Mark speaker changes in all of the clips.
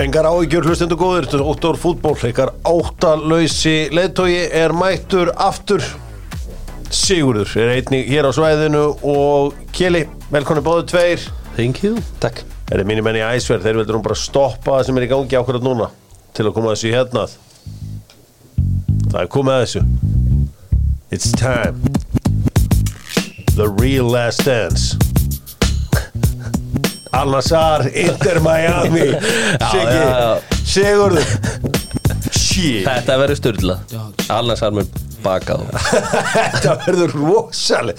Speaker 1: Engar áhyggjur hlustendu góður, þetta er óttar fútból, ykkar áttalöysi leðtogi er mættur aftur. Sigurður er einnig hér á svæðinu og Kili, velkonni báðu tveir.
Speaker 2: Thank you Takk
Speaker 1: Er þið mínir menni í æsverð, þeir veldur hún bara stoppa það sem er í gangi ákvörðat núna til að koma þessu í hérnað. Það er komið að þessu. It's time. The real last dance. Al-Nassar, Inter Miami. Siggi,
Speaker 2: já, já.
Speaker 1: Sigurður. Shit.
Speaker 2: Þetta verður styrla Alnars har mér bakað
Speaker 1: Þetta verður rosaleg.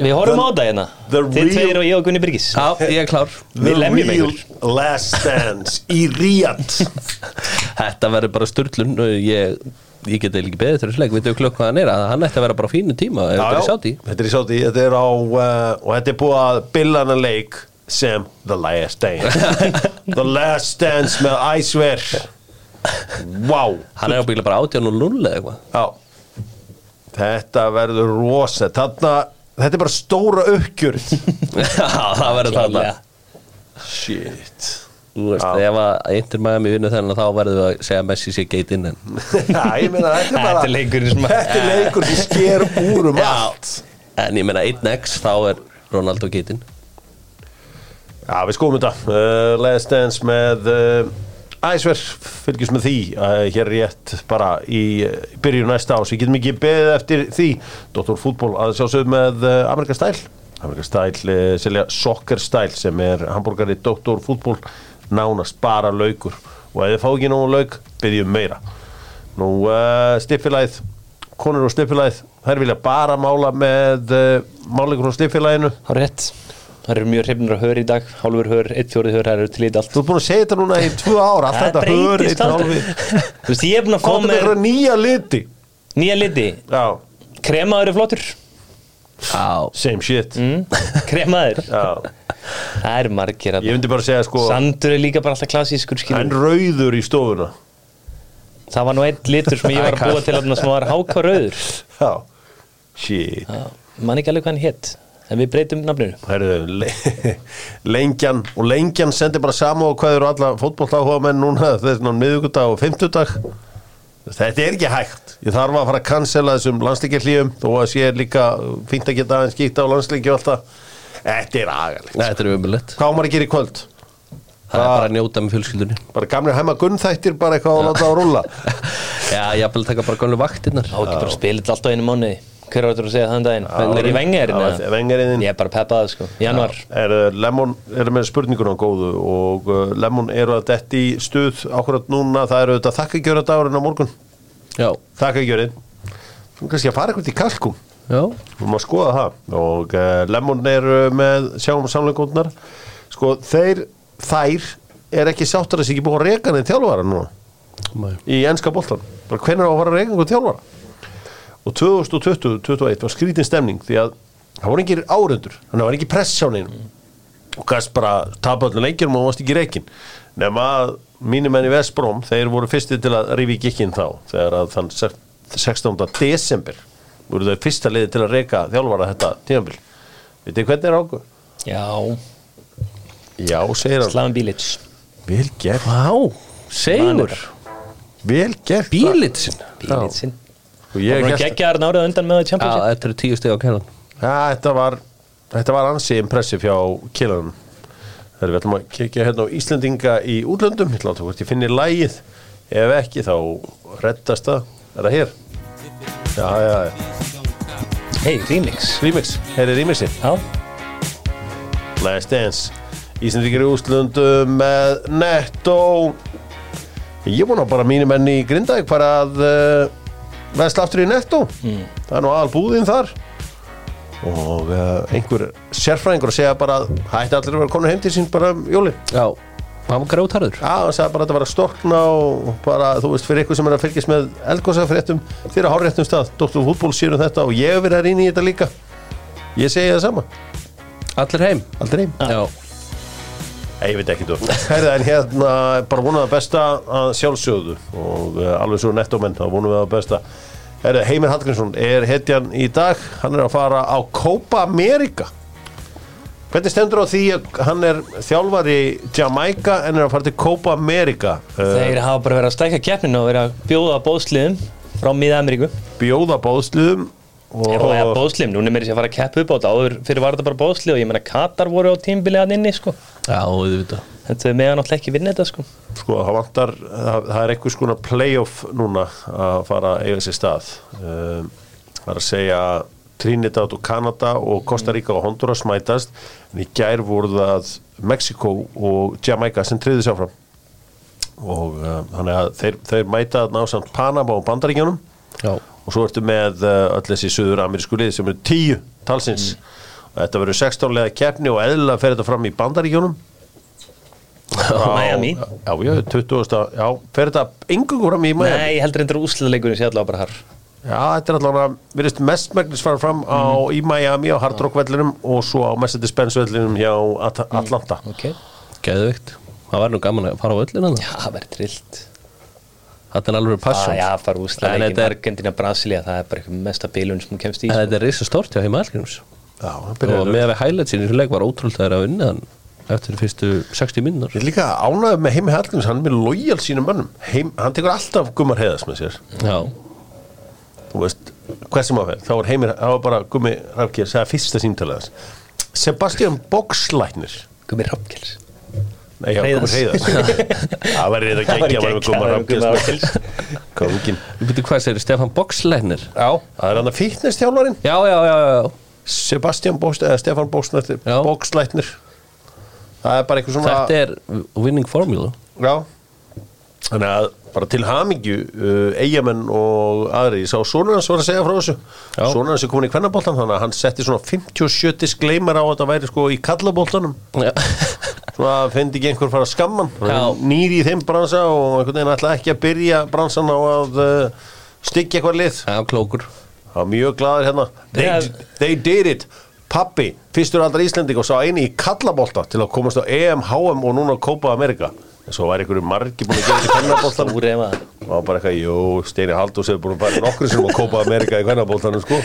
Speaker 3: Við horfum á þetta hérna
Speaker 1: The
Speaker 3: Þið
Speaker 1: real-
Speaker 3: tveir og ég og Gunni Byrgis
Speaker 2: Já, ég er klár
Speaker 1: The
Speaker 3: Við lemjum
Speaker 1: real
Speaker 3: ykkur
Speaker 1: last dance í Ríad.
Speaker 2: Þetta verður bara styrlun Ég, ég get eiginlega ekki beðið um þurr sleik Við þau klukk hvað hann er að Hann ætti að vera bara á fínu tíma
Speaker 1: Já,
Speaker 2: Ef þetta
Speaker 1: já.
Speaker 2: er sátt í
Speaker 1: Þetta er í sáti, þetta er á uh, og þetta er búið að billana leik sem The Last Dance The Last Dance með Æsver Vá
Speaker 2: Hann er á bíla bara 18 og 0 eða eitthvað
Speaker 1: Já Þetta verður rosa Þarna, þetta er bara stóra uppgjörð
Speaker 2: Já, það verður þarna
Speaker 3: Klárlega.
Speaker 1: Shit
Speaker 2: Þú veist,
Speaker 1: Já.
Speaker 2: ef að eintir maður mér vinnu þennan þá verðum við að segja að Messi sé geit inn en
Speaker 1: Já, ég meina, þetta er bara
Speaker 3: Þetta er leikurinn sem að-
Speaker 1: Þetta er leikur sem sker úr um allt
Speaker 2: En ég meina 1x þá er Ronaldo geit inn
Speaker 1: Já, við skoðum þetta uh, Last Dance með uh, Æsver, fylgjumst með því uh, hér rétt bara í uh, byrjun næsta ás, við getum ekki beðið eftir því Dr. Fútból að sjálfsögðu með uh, Amerika Stæl Amerika Stæl, uh, selja Soccer Stæl sem er hambúrgari Dr. Fútból nánast bara laukur og ef þið fá ekki nógu lauk, byrjum meira Nú, uh, stiffilæð konur og stiffilæð, þær vilja bara mála með uh, málingur á stiffilæðinu
Speaker 3: Það er rétt Það eru mjög hrifnir að hör í dag Hálfur hör, eitt fjórið hör, það eru til í þetta allt
Speaker 1: Þú ert búin að segja þetta núna í tvö ára Allt
Speaker 3: Það
Speaker 1: þetta hör
Speaker 3: breytist
Speaker 1: eitt
Speaker 3: aldrei
Speaker 1: hálfi
Speaker 3: Þú veist, ég er búin að fá
Speaker 1: Komdu með
Speaker 3: mér
Speaker 1: eitthvað nýja liti
Speaker 3: nýja liti
Speaker 1: Já,
Speaker 3: Kremaður er flottur
Speaker 2: Já,
Speaker 1: same shit
Speaker 3: Mm. Hm? Kremaður
Speaker 1: Já.
Speaker 3: Það er margir að
Speaker 1: Ég myndi bara segja sko
Speaker 3: Sandur er líka bara alltaf klassískur
Speaker 1: Hann
Speaker 3: skilur
Speaker 1: rauður í stofuna
Speaker 3: Það var nú einn litur sem ég var að búa til að sem var hákvar rauður
Speaker 1: Já, shit
Speaker 3: Man ekki alveg hvað hann hétt En við breytum nafninu
Speaker 1: Herðu, le lengjan og lengjan sendir bara saman og hvað eru alla fótbolltáhuga menn núna þessan á miðugudag og fimmtudag þetta er ekki hægt ég þarf að fara að cancela þessum landsleikjahlífum þó að sé líka fínt að geta aðeins skýta á landsleikju og allt það þetta er agalegt
Speaker 2: þetta er umulett
Speaker 1: hvað á maður að gera í kvöld?
Speaker 2: Það er bara að njóta með fjölskyldunni
Speaker 1: bara gamlir heima gunnþættir bara eitthvað að láta að rúlla
Speaker 2: Já, ég vil taka bara gönnlu vaktinnar
Speaker 3: Á ekki bara að spila þetta alltaf einu mánuði Hver var þetta að segja þann daginn? Það er í vengarinn
Speaker 1: Já, Vengariðin
Speaker 3: Ég er bara að peppa það sko Januar
Speaker 1: er uh, Lemon er með spurninguna góðu og uh, Lemon eru að detti í stuð akkurat núna, það eru þetta þakkagjörða dagurinn á morgun,
Speaker 2: Já,
Speaker 1: þakkagjörðin þú kannski að fara eitthvað í kalkum
Speaker 2: já
Speaker 1: við maður skoða það og uh, Lemon eru með sjáum samleikundnar sko þeir, þær er ekki sáttar að sé ekki búið að reka neð þjálfara núna
Speaker 2: Nei.
Speaker 1: í enska boltan bara hvernig á að fara að reyna einhver þjálfara og 2020-2021 var skrítin stemning því að það voru engir árundur þannig að það var ekki press hjá neinum og gæst bara tapa öllum leikjum og varst ekki reikin nema að mínum enn í Vestbróm þeir voru fyrsti til að rífi gikkin þá þegar að þann se- 16. desember voru þau fyrsta liði til að reyka þjálfara þetta tíðanbíl veit þið hvernig er ákveð?
Speaker 3: Já
Speaker 1: Já, segir hann
Speaker 3: Slaven Bílits
Speaker 1: Vel gert,
Speaker 2: Vá, segur
Speaker 1: vel gert
Speaker 2: Bílitsin
Speaker 3: Bílitsin
Speaker 1: Og ég
Speaker 3: Það
Speaker 1: er
Speaker 3: var
Speaker 1: gert
Speaker 3: geggjaðar nárið undan með það
Speaker 2: Já,
Speaker 3: Champions League
Speaker 2: þetta eru tíu steg á kælan
Speaker 1: Já, þetta var, þetta var ansi impressif hjá killanum. Þegar við ætlum að kikja hérna á Íslendinga í útlöndum, ég ætla að þú hvort ég finni lægið. Ef ekki, þá reddast það. Er það hér? Já, já, já.
Speaker 3: Hei, remix
Speaker 1: Remix. Hér er remixið.
Speaker 3: Já,
Speaker 1: Last Dance Íslandingar í Úslundum með Netto Ég vona bara mínu menn í Grindavík bara að uh, vesla aftur í Netto Það er nú aðal búðin þar og uh, einhver sérfræðingur að segja bara að hætti allir að vera konu heim til sín bara um jóli
Speaker 2: Já, hann var grótarður
Speaker 1: Já, hann sagði bara að þetta var að storkna og bara, þú veist, fyrir ykkur sem er að fylgjast með eldgóðsafréttum, þeir eru á háréttum stað Dr. Fútból sér um þetta og ég hef verið að rýna í þetta líka Ég segi það sama,
Speaker 2: Allir heim
Speaker 1: aldrei heim
Speaker 2: Já,
Speaker 1: Nei, ég veit ekki þú. Herða, en hérna, bara vonaðu að besta að sjálfsögðu og uh, alveg svo nettómenn, þá vonaðu við að besta. Herða, Heimir Hallgrímsson er hetjan í dag, hann er að fara á Copa America. Hvernig stendur á því að hann er þjálfari Jamaica en er að fara til Copa America uh,
Speaker 3: Þeir hafa bara verið að stækja keppninu og verið að bjóða bóðsliðum frá Mið-Ameríku
Speaker 1: bjóða bóðsluðum
Speaker 3: og
Speaker 1: Oh.
Speaker 3: það er bóðsliðum, núna er meiri sér að fara að keppa upp á þetta áður fyrir var þetta bara bóðslið og ég meina Katar voru á tímbili að inni sko
Speaker 2: Já, þú veit það
Speaker 3: þetta er meðan alltaf ekki vinna þetta sko
Speaker 1: sko, það vantar, það, það er einhvers konar playoff núna að fara að eiga sér stað um, það er að segja Trinidad og Kanada og Costa Rica og Honduras mætast en í gær voru það Mexiko og Jamaica sem triði sér fram og um, þannig að þeir, þeir mæta ná samt Panama og Bandaríkjunum
Speaker 2: Já,
Speaker 1: og svo ertu með uh, öll þessi suður-amerísku lið sem eru tíu talsins og þetta verður 16 leða keppni og eðla fer þetta fram í bandaríkjónum
Speaker 3: Miami.
Speaker 1: Já, já, 20. Já, fer þetta engu fram í Miami
Speaker 3: Nei, ég heldur endur úsliðleikurinn sé allavega bara þar
Speaker 1: Já, þetta er allavega, virðist mestmægnis fara fram á,
Speaker 3: Mm.
Speaker 1: í Miami á Hard Rock vellinum og svo á Mercedes-Benz vellinum hjá At
Speaker 3: Mm.
Speaker 1: Atlanta
Speaker 3: Ok Já,
Speaker 2: geðveikt Það var nú gaman að fara á öllina það
Speaker 3: það verður trillt
Speaker 2: Þetta er alveg
Speaker 3: Já,
Speaker 2: passum
Speaker 3: Ah, já, fara
Speaker 2: En
Speaker 3: úsliðleikin
Speaker 2: þetta er-
Speaker 3: Argentina, Brasilia, það er bara eitthvað mesta bilun sem hún kemst í
Speaker 2: En þetta er reysa stórt hjá heima Algríms
Speaker 1: Já, það
Speaker 2: Og
Speaker 1: byrjar
Speaker 2: með að við highlightsin í þessu leik var ótrúlega að vinna hann eftir fyrstu 60 minnur
Speaker 1: Ég er líka ánægð með Heimi Hallgríms, hann er með lojal sínum mönnum Heim, Hann tekur alltaf gummar heiðas með sér
Speaker 2: Já,
Speaker 1: þú veist, hvað sem að fer þá var heimir, þá var bara gummi rafkir það er fyrsta símtalaðans Sebastian Boxlæknir
Speaker 3: Gummi Rappkels
Speaker 1: Nei, já,
Speaker 3: Hreiðars.
Speaker 1: Gummi Heiðars Það var reyða
Speaker 3: Það væri
Speaker 1: gengi að vera með
Speaker 3: geggjað
Speaker 1: Gumma sko.
Speaker 3: að vera með Gumma
Speaker 1: Rafkjars Kóngin
Speaker 2: við byrjuðu hvað segir Stefan Boxleiner
Speaker 1: Já, það er hann að fitnesstjálfarin
Speaker 2: Já, já, já, já,
Speaker 1: Sebastian Box, eða Stefan Boxlæknir
Speaker 2: Já.
Speaker 1: Boxlæknir Það er bara eitthvað svona
Speaker 2: þetta er winning formula
Speaker 1: Já Þannig að bara til hamingju uh, eigamenn og aðri ég sá sonur hans var að segja frá þessu
Speaker 2: Já.
Speaker 1: sonur hans er komin í kvennaboltan þannig að hann setti svona 57 disclaimer á að þetta væri sko í kallaboltanum
Speaker 2: Já,
Speaker 1: svona að fendi ekki einhver fara að skamman
Speaker 2: Já.
Speaker 1: nýri í þeim bransa og einhvern veginn ætla ekki að byrja bransan á að uh, styggja eitthvað lið
Speaker 2: já klókur
Speaker 1: það var mjög glaður hérna they,
Speaker 3: Já.
Speaker 1: they did it Pappi, fyrstur allra Íslending og sá eini í kallabolta til að komast á EM, HM og núna Kópa Amerika en svo var einhverju margi búin að gera þetta í kvennaboltanum
Speaker 3: Úr eða maður
Speaker 1: og hann bara eitthvað, jú, Steini Haldús hefur búin að fara nokkru sem að kópa Amerika í kvennabóltanum sko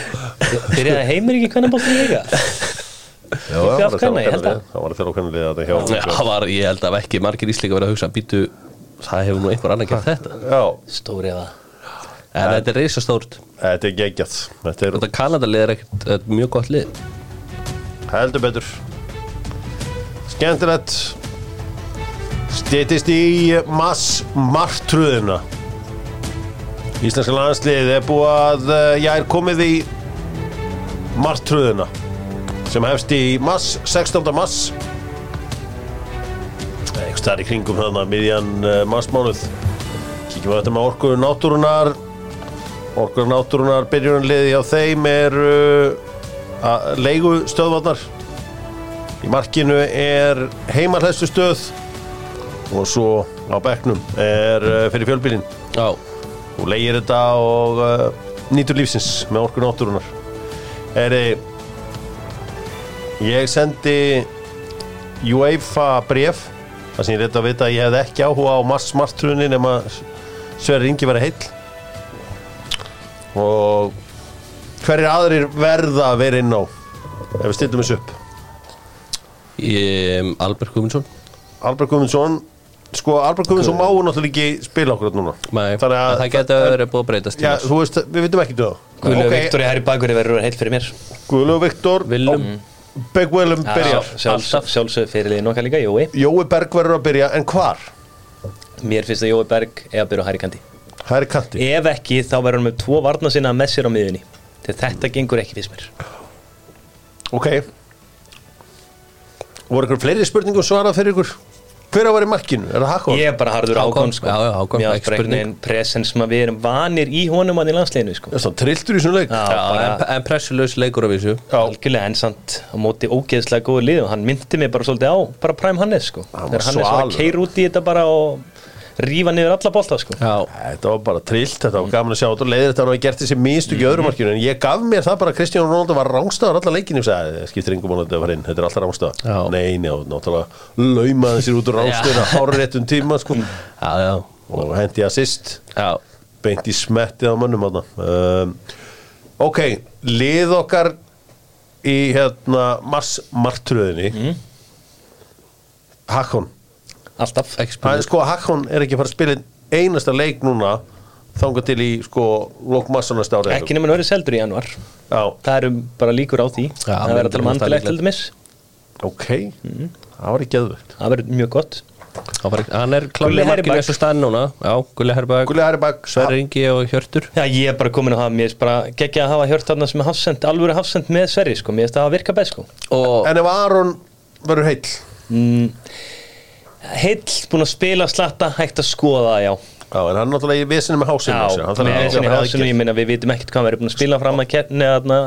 Speaker 3: Byrjaði heimir ekki hvernig bóttum líka?
Speaker 1: Já, það var að
Speaker 3: afkvæma, ég held að.
Speaker 1: þjóra hvernig liða þetta hjá
Speaker 2: Já, var, ég held að ekki margir íslíka verið að hugsa býtu, það hefur nú einhver annar gert þetta
Speaker 1: Já,
Speaker 3: Stóri eða
Speaker 2: En þetta er reysa stórt
Speaker 1: þetta er geggjað Þetta er
Speaker 2: Þetta Kanadalið er ekkert þetta er mjög gott lið
Speaker 1: heldur betur Skemmtilegt Stýttist í mass martröðina Íslenska landslið er búið að eh, já, er komið í martröðina sem hefst í mass, 16. mass einhvers staðar í kringum þarna miðjan uh, massmánuð kíkjum við þetta með orku náttúrunar orku náttúrunar byrjunarliði hjá þeim er uh, leigu stöðvarnar í markinu er heimarhæstu stöð og svo á bekknum er uh, fyrir fjölbílinn
Speaker 2: Já,
Speaker 1: og leigir þetta og uh, nýtur lífsins með orku náttúrunar Eri, ég sendi UEFA bref þar sem ég reyndi að vita að ég hefði ekki áhuga á massmartrunni nema Sverri Ingi verið heill og hverjir aðrir verða að vera inn á ef við stillum þessu upp
Speaker 2: ég, um, Albert Guðmundsson
Speaker 1: Albert Guðmundsson sko Albert Guðmundsson má náttúrulega ekki spila okkur núna
Speaker 2: Nei,
Speaker 1: þannig að
Speaker 2: það getur verið búið að breytast
Speaker 1: Já, þú veist, við veitum ekki það
Speaker 3: Guðlega okay. Viktor í Hæri Bakur verður heilt fyrir mér
Speaker 1: Guðlöf Viktor
Speaker 2: Willum.
Speaker 1: Beg Willum byrjar
Speaker 3: Já, sjálfsög, sjálfsög fyrirliðin okkar líka, Jói
Speaker 1: Jói Berg verður að byrja, en hvar?
Speaker 3: Mér finnst að Jói Berg eða byrja á Hæri Kandi
Speaker 1: Það er í kanti
Speaker 3: Ef ekki, þá verður hann með tvo varna sinna með sér á miðunni Þegar
Speaker 2: Mm.
Speaker 3: þetta gengur ekki fyrst mér
Speaker 1: Ok Voru ykkur fleiri spurningum svarað fyrir ykkur? Hver að vera í markinu? Er það Hakon?
Speaker 3: Ég er bara harður
Speaker 2: Hákon,
Speaker 3: ákon, sko
Speaker 2: já, já, Hákon,
Speaker 3: Mér
Speaker 2: ekki
Speaker 3: finnst bara einhvern
Speaker 2: spurning.
Speaker 3: veginn presens sem að við erum vanir í honum að í landsleginu, sko
Speaker 1: Það er svona trilltur í svona leik
Speaker 3: Já,
Speaker 2: Já,
Speaker 3: bara
Speaker 2: en, en pressulaus leikur af þessu
Speaker 3: algjörlega ensant á móti ógeðslega góðu lið og hann myndi mig bara svolítið á bara Prime Hannes, sko
Speaker 1: Hann var
Speaker 3: Þegar Hannes var
Speaker 1: svalur.
Speaker 3: að keira út í þetta bara og rífa niður alla bolta, sko
Speaker 2: Já,
Speaker 1: Þetta var bara trillt, þetta
Speaker 3: Mm.
Speaker 1: var gaman að sjá Þetta leiðir þetta að hann hafi gert þessi mistu í öðru
Speaker 3: Mm-hmm.
Speaker 1: markinu En ég gaf mér það bara að Kristján Rónaldur var rángstæðar Alla leikinu, ég sagði, "Það skiptir engum máli að þetta var inn Þetta er alltaf
Speaker 2: Já.
Speaker 1: rángstæðar Nei, njá, náttúrulega laumaði sér út úr rángstæðar Hára réttum tíma, sko
Speaker 3: Mm.
Speaker 2: já, já,
Speaker 1: Og hendi assist
Speaker 2: já.
Speaker 1: beint í smettið á mönnum hana. um, ok, lið Ehm, okkar í hérna massmartröðinni
Speaker 3: Mhm.
Speaker 1: mm. Hakon
Speaker 3: Alltaf
Speaker 2: Ekki
Speaker 1: Hann,
Speaker 2: spurning
Speaker 1: sko, Hakon er ekki að fara að spila einn einasta leik núna þangað til í sko lókmassanast árið
Speaker 3: Ekki nema hann verið seldur í januar
Speaker 1: Já,
Speaker 3: Það eru bara líkur á því
Speaker 2: Já,
Speaker 3: Það verður að tala um
Speaker 2: það er
Speaker 3: andilegt til
Speaker 2: líklegt.
Speaker 3: dæmis
Speaker 1: ok
Speaker 3: Mhm.
Speaker 1: Það var ekki aðvögt
Speaker 3: Það verður mjög gott
Speaker 2: Hann var- Hann er
Speaker 3: Gulli
Speaker 2: klálega markinu
Speaker 3: Herberg.
Speaker 2: þessu staðin núna Já, Gulli Herbæk,
Speaker 1: Gulli Heribak
Speaker 2: Sverri Ingi og Hjörtur
Speaker 3: Já, ég er bara komin að hafa, mér er bara geggja að hafa hjört þarna sem er hafsend, alvöru hafsend með Sverri, sko, mér finnst það að virka best, sko.
Speaker 2: Og
Speaker 1: En ef Aron verður heill
Speaker 3: Mm, heill, búin að spila slatta, hægt að skoða það, já.
Speaker 1: Já, en hann náttúrulega í vesinu með hásinu
Speaker 3: Já,
Speaker 1: hann þarf
Speaker 3: með
Speaker 1: að
Speaker 3: þessinni
Speaker 1: hafa
Speaker 3: hafsinu, ég
Speaker 1: aðgerð.
Speaker 3: meina við vitum ekkert hvað hann verður búin að spila fram að keppni, þarna,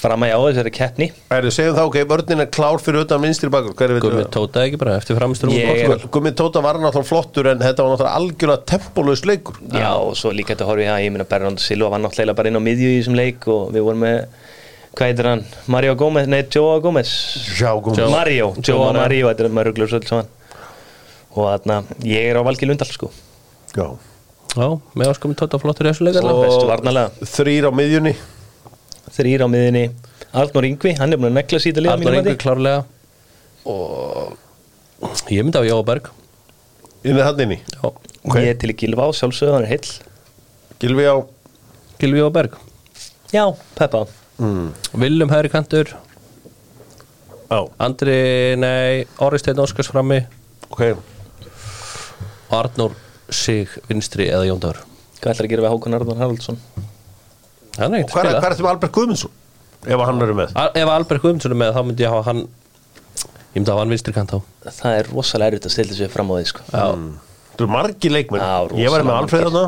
Speaker 3: fram að já, þessari keppni.
Speaker 1: Herri, segjum þá, ok, vörnin er klár fyrir utan vinstri bakur Hver er
Speaker 2: Gummi Tóta ekki bara eftir framstur
Speaker 3: Ég-
Speaker 1: Portugal. Sko, Gummi Tóta var náttúrulega flottur en þetta var náttúrulega algjörlega tempólaus leikur
Speaker 3: Já, og svo líka þetta horfið það, ég meina Bernardo Silva var náttúrulega bara inn á miðju í þessum leik og við vorum með, hvað heitir hann, Mario Gómez, nei, Joao Gómez,
Speaker 1: Já, Gummi
Speaker 3: Mario,
Speaker 2: Joe
Speaker 3: Joe
Speaker 2: Mario.
Speaker 3: Mario, þetta er maður ruglur svolítið saman og þarna, ég er á Valgi Lundal sko
Speaker 1: Já.
Speaker 2: Já, með áskumum Tóta flottur í þessu leik
Speaker 3: Svo-
Speaker 2: allavega.
Speaker 3: bestu varnarlega.
Speaker 1: Þrýr á miðjunni
Speaker 3: þrýr á miðinni, Arnur Yngvi hann er búin að negla síta liða
Speaker 2: Arnar
Speaker 3: mínum að
Speaker 2: Ingur klárlega Og ég myndi á Jóaberg
Speaker 1: Inni hann inni
Speaker 2: Já,
Speaker 1: ok.
Speaker 3: ég er til í Gilva á sjálfsögðu, hann er heill
Speaker 1: Gilvi á
Speaker 2: Gilvi Jóaberg
Speaker 3: já, Peppa, Hmm.
Speaker 1: mm.
Speaker 2: Willum hægri kantur
Speaker 1: Já,
Speaker 2: Andri, nei, Orristeinn Óskars frammi
Speaker 1: ok
Speaker 2: og Arnór Sig vinstri eða Jóndar
Speaker 3: hvað ætlar að gera við Hákon Arnur Haraldsson
Speaker 2: Hann er
Speaker 1: Og
Speaker 2: ekkert
Speaker 1: hvað
Speaker 2: að
Speaker 1: er, hvað er
Speaker 2: spila
Speaker 1: þetta með Albert Guðmundsson? Ef hann verður með
Speaker 2: Al- Ef Albert Guðmundsson er með þá myndi ég hafa hann ég myndi hafa hann vinstri kant á
Speaker 3: það er rosalega erfitt að stilla sig fram á því sko
Speaker 2: Já,
Speaker 1: Þú eru margi leikmenn
Speaker 3: Já, rosalega
Speaker 1: Ég var með Alfreð
Speaker 3: margir.
Speaker 1: þarna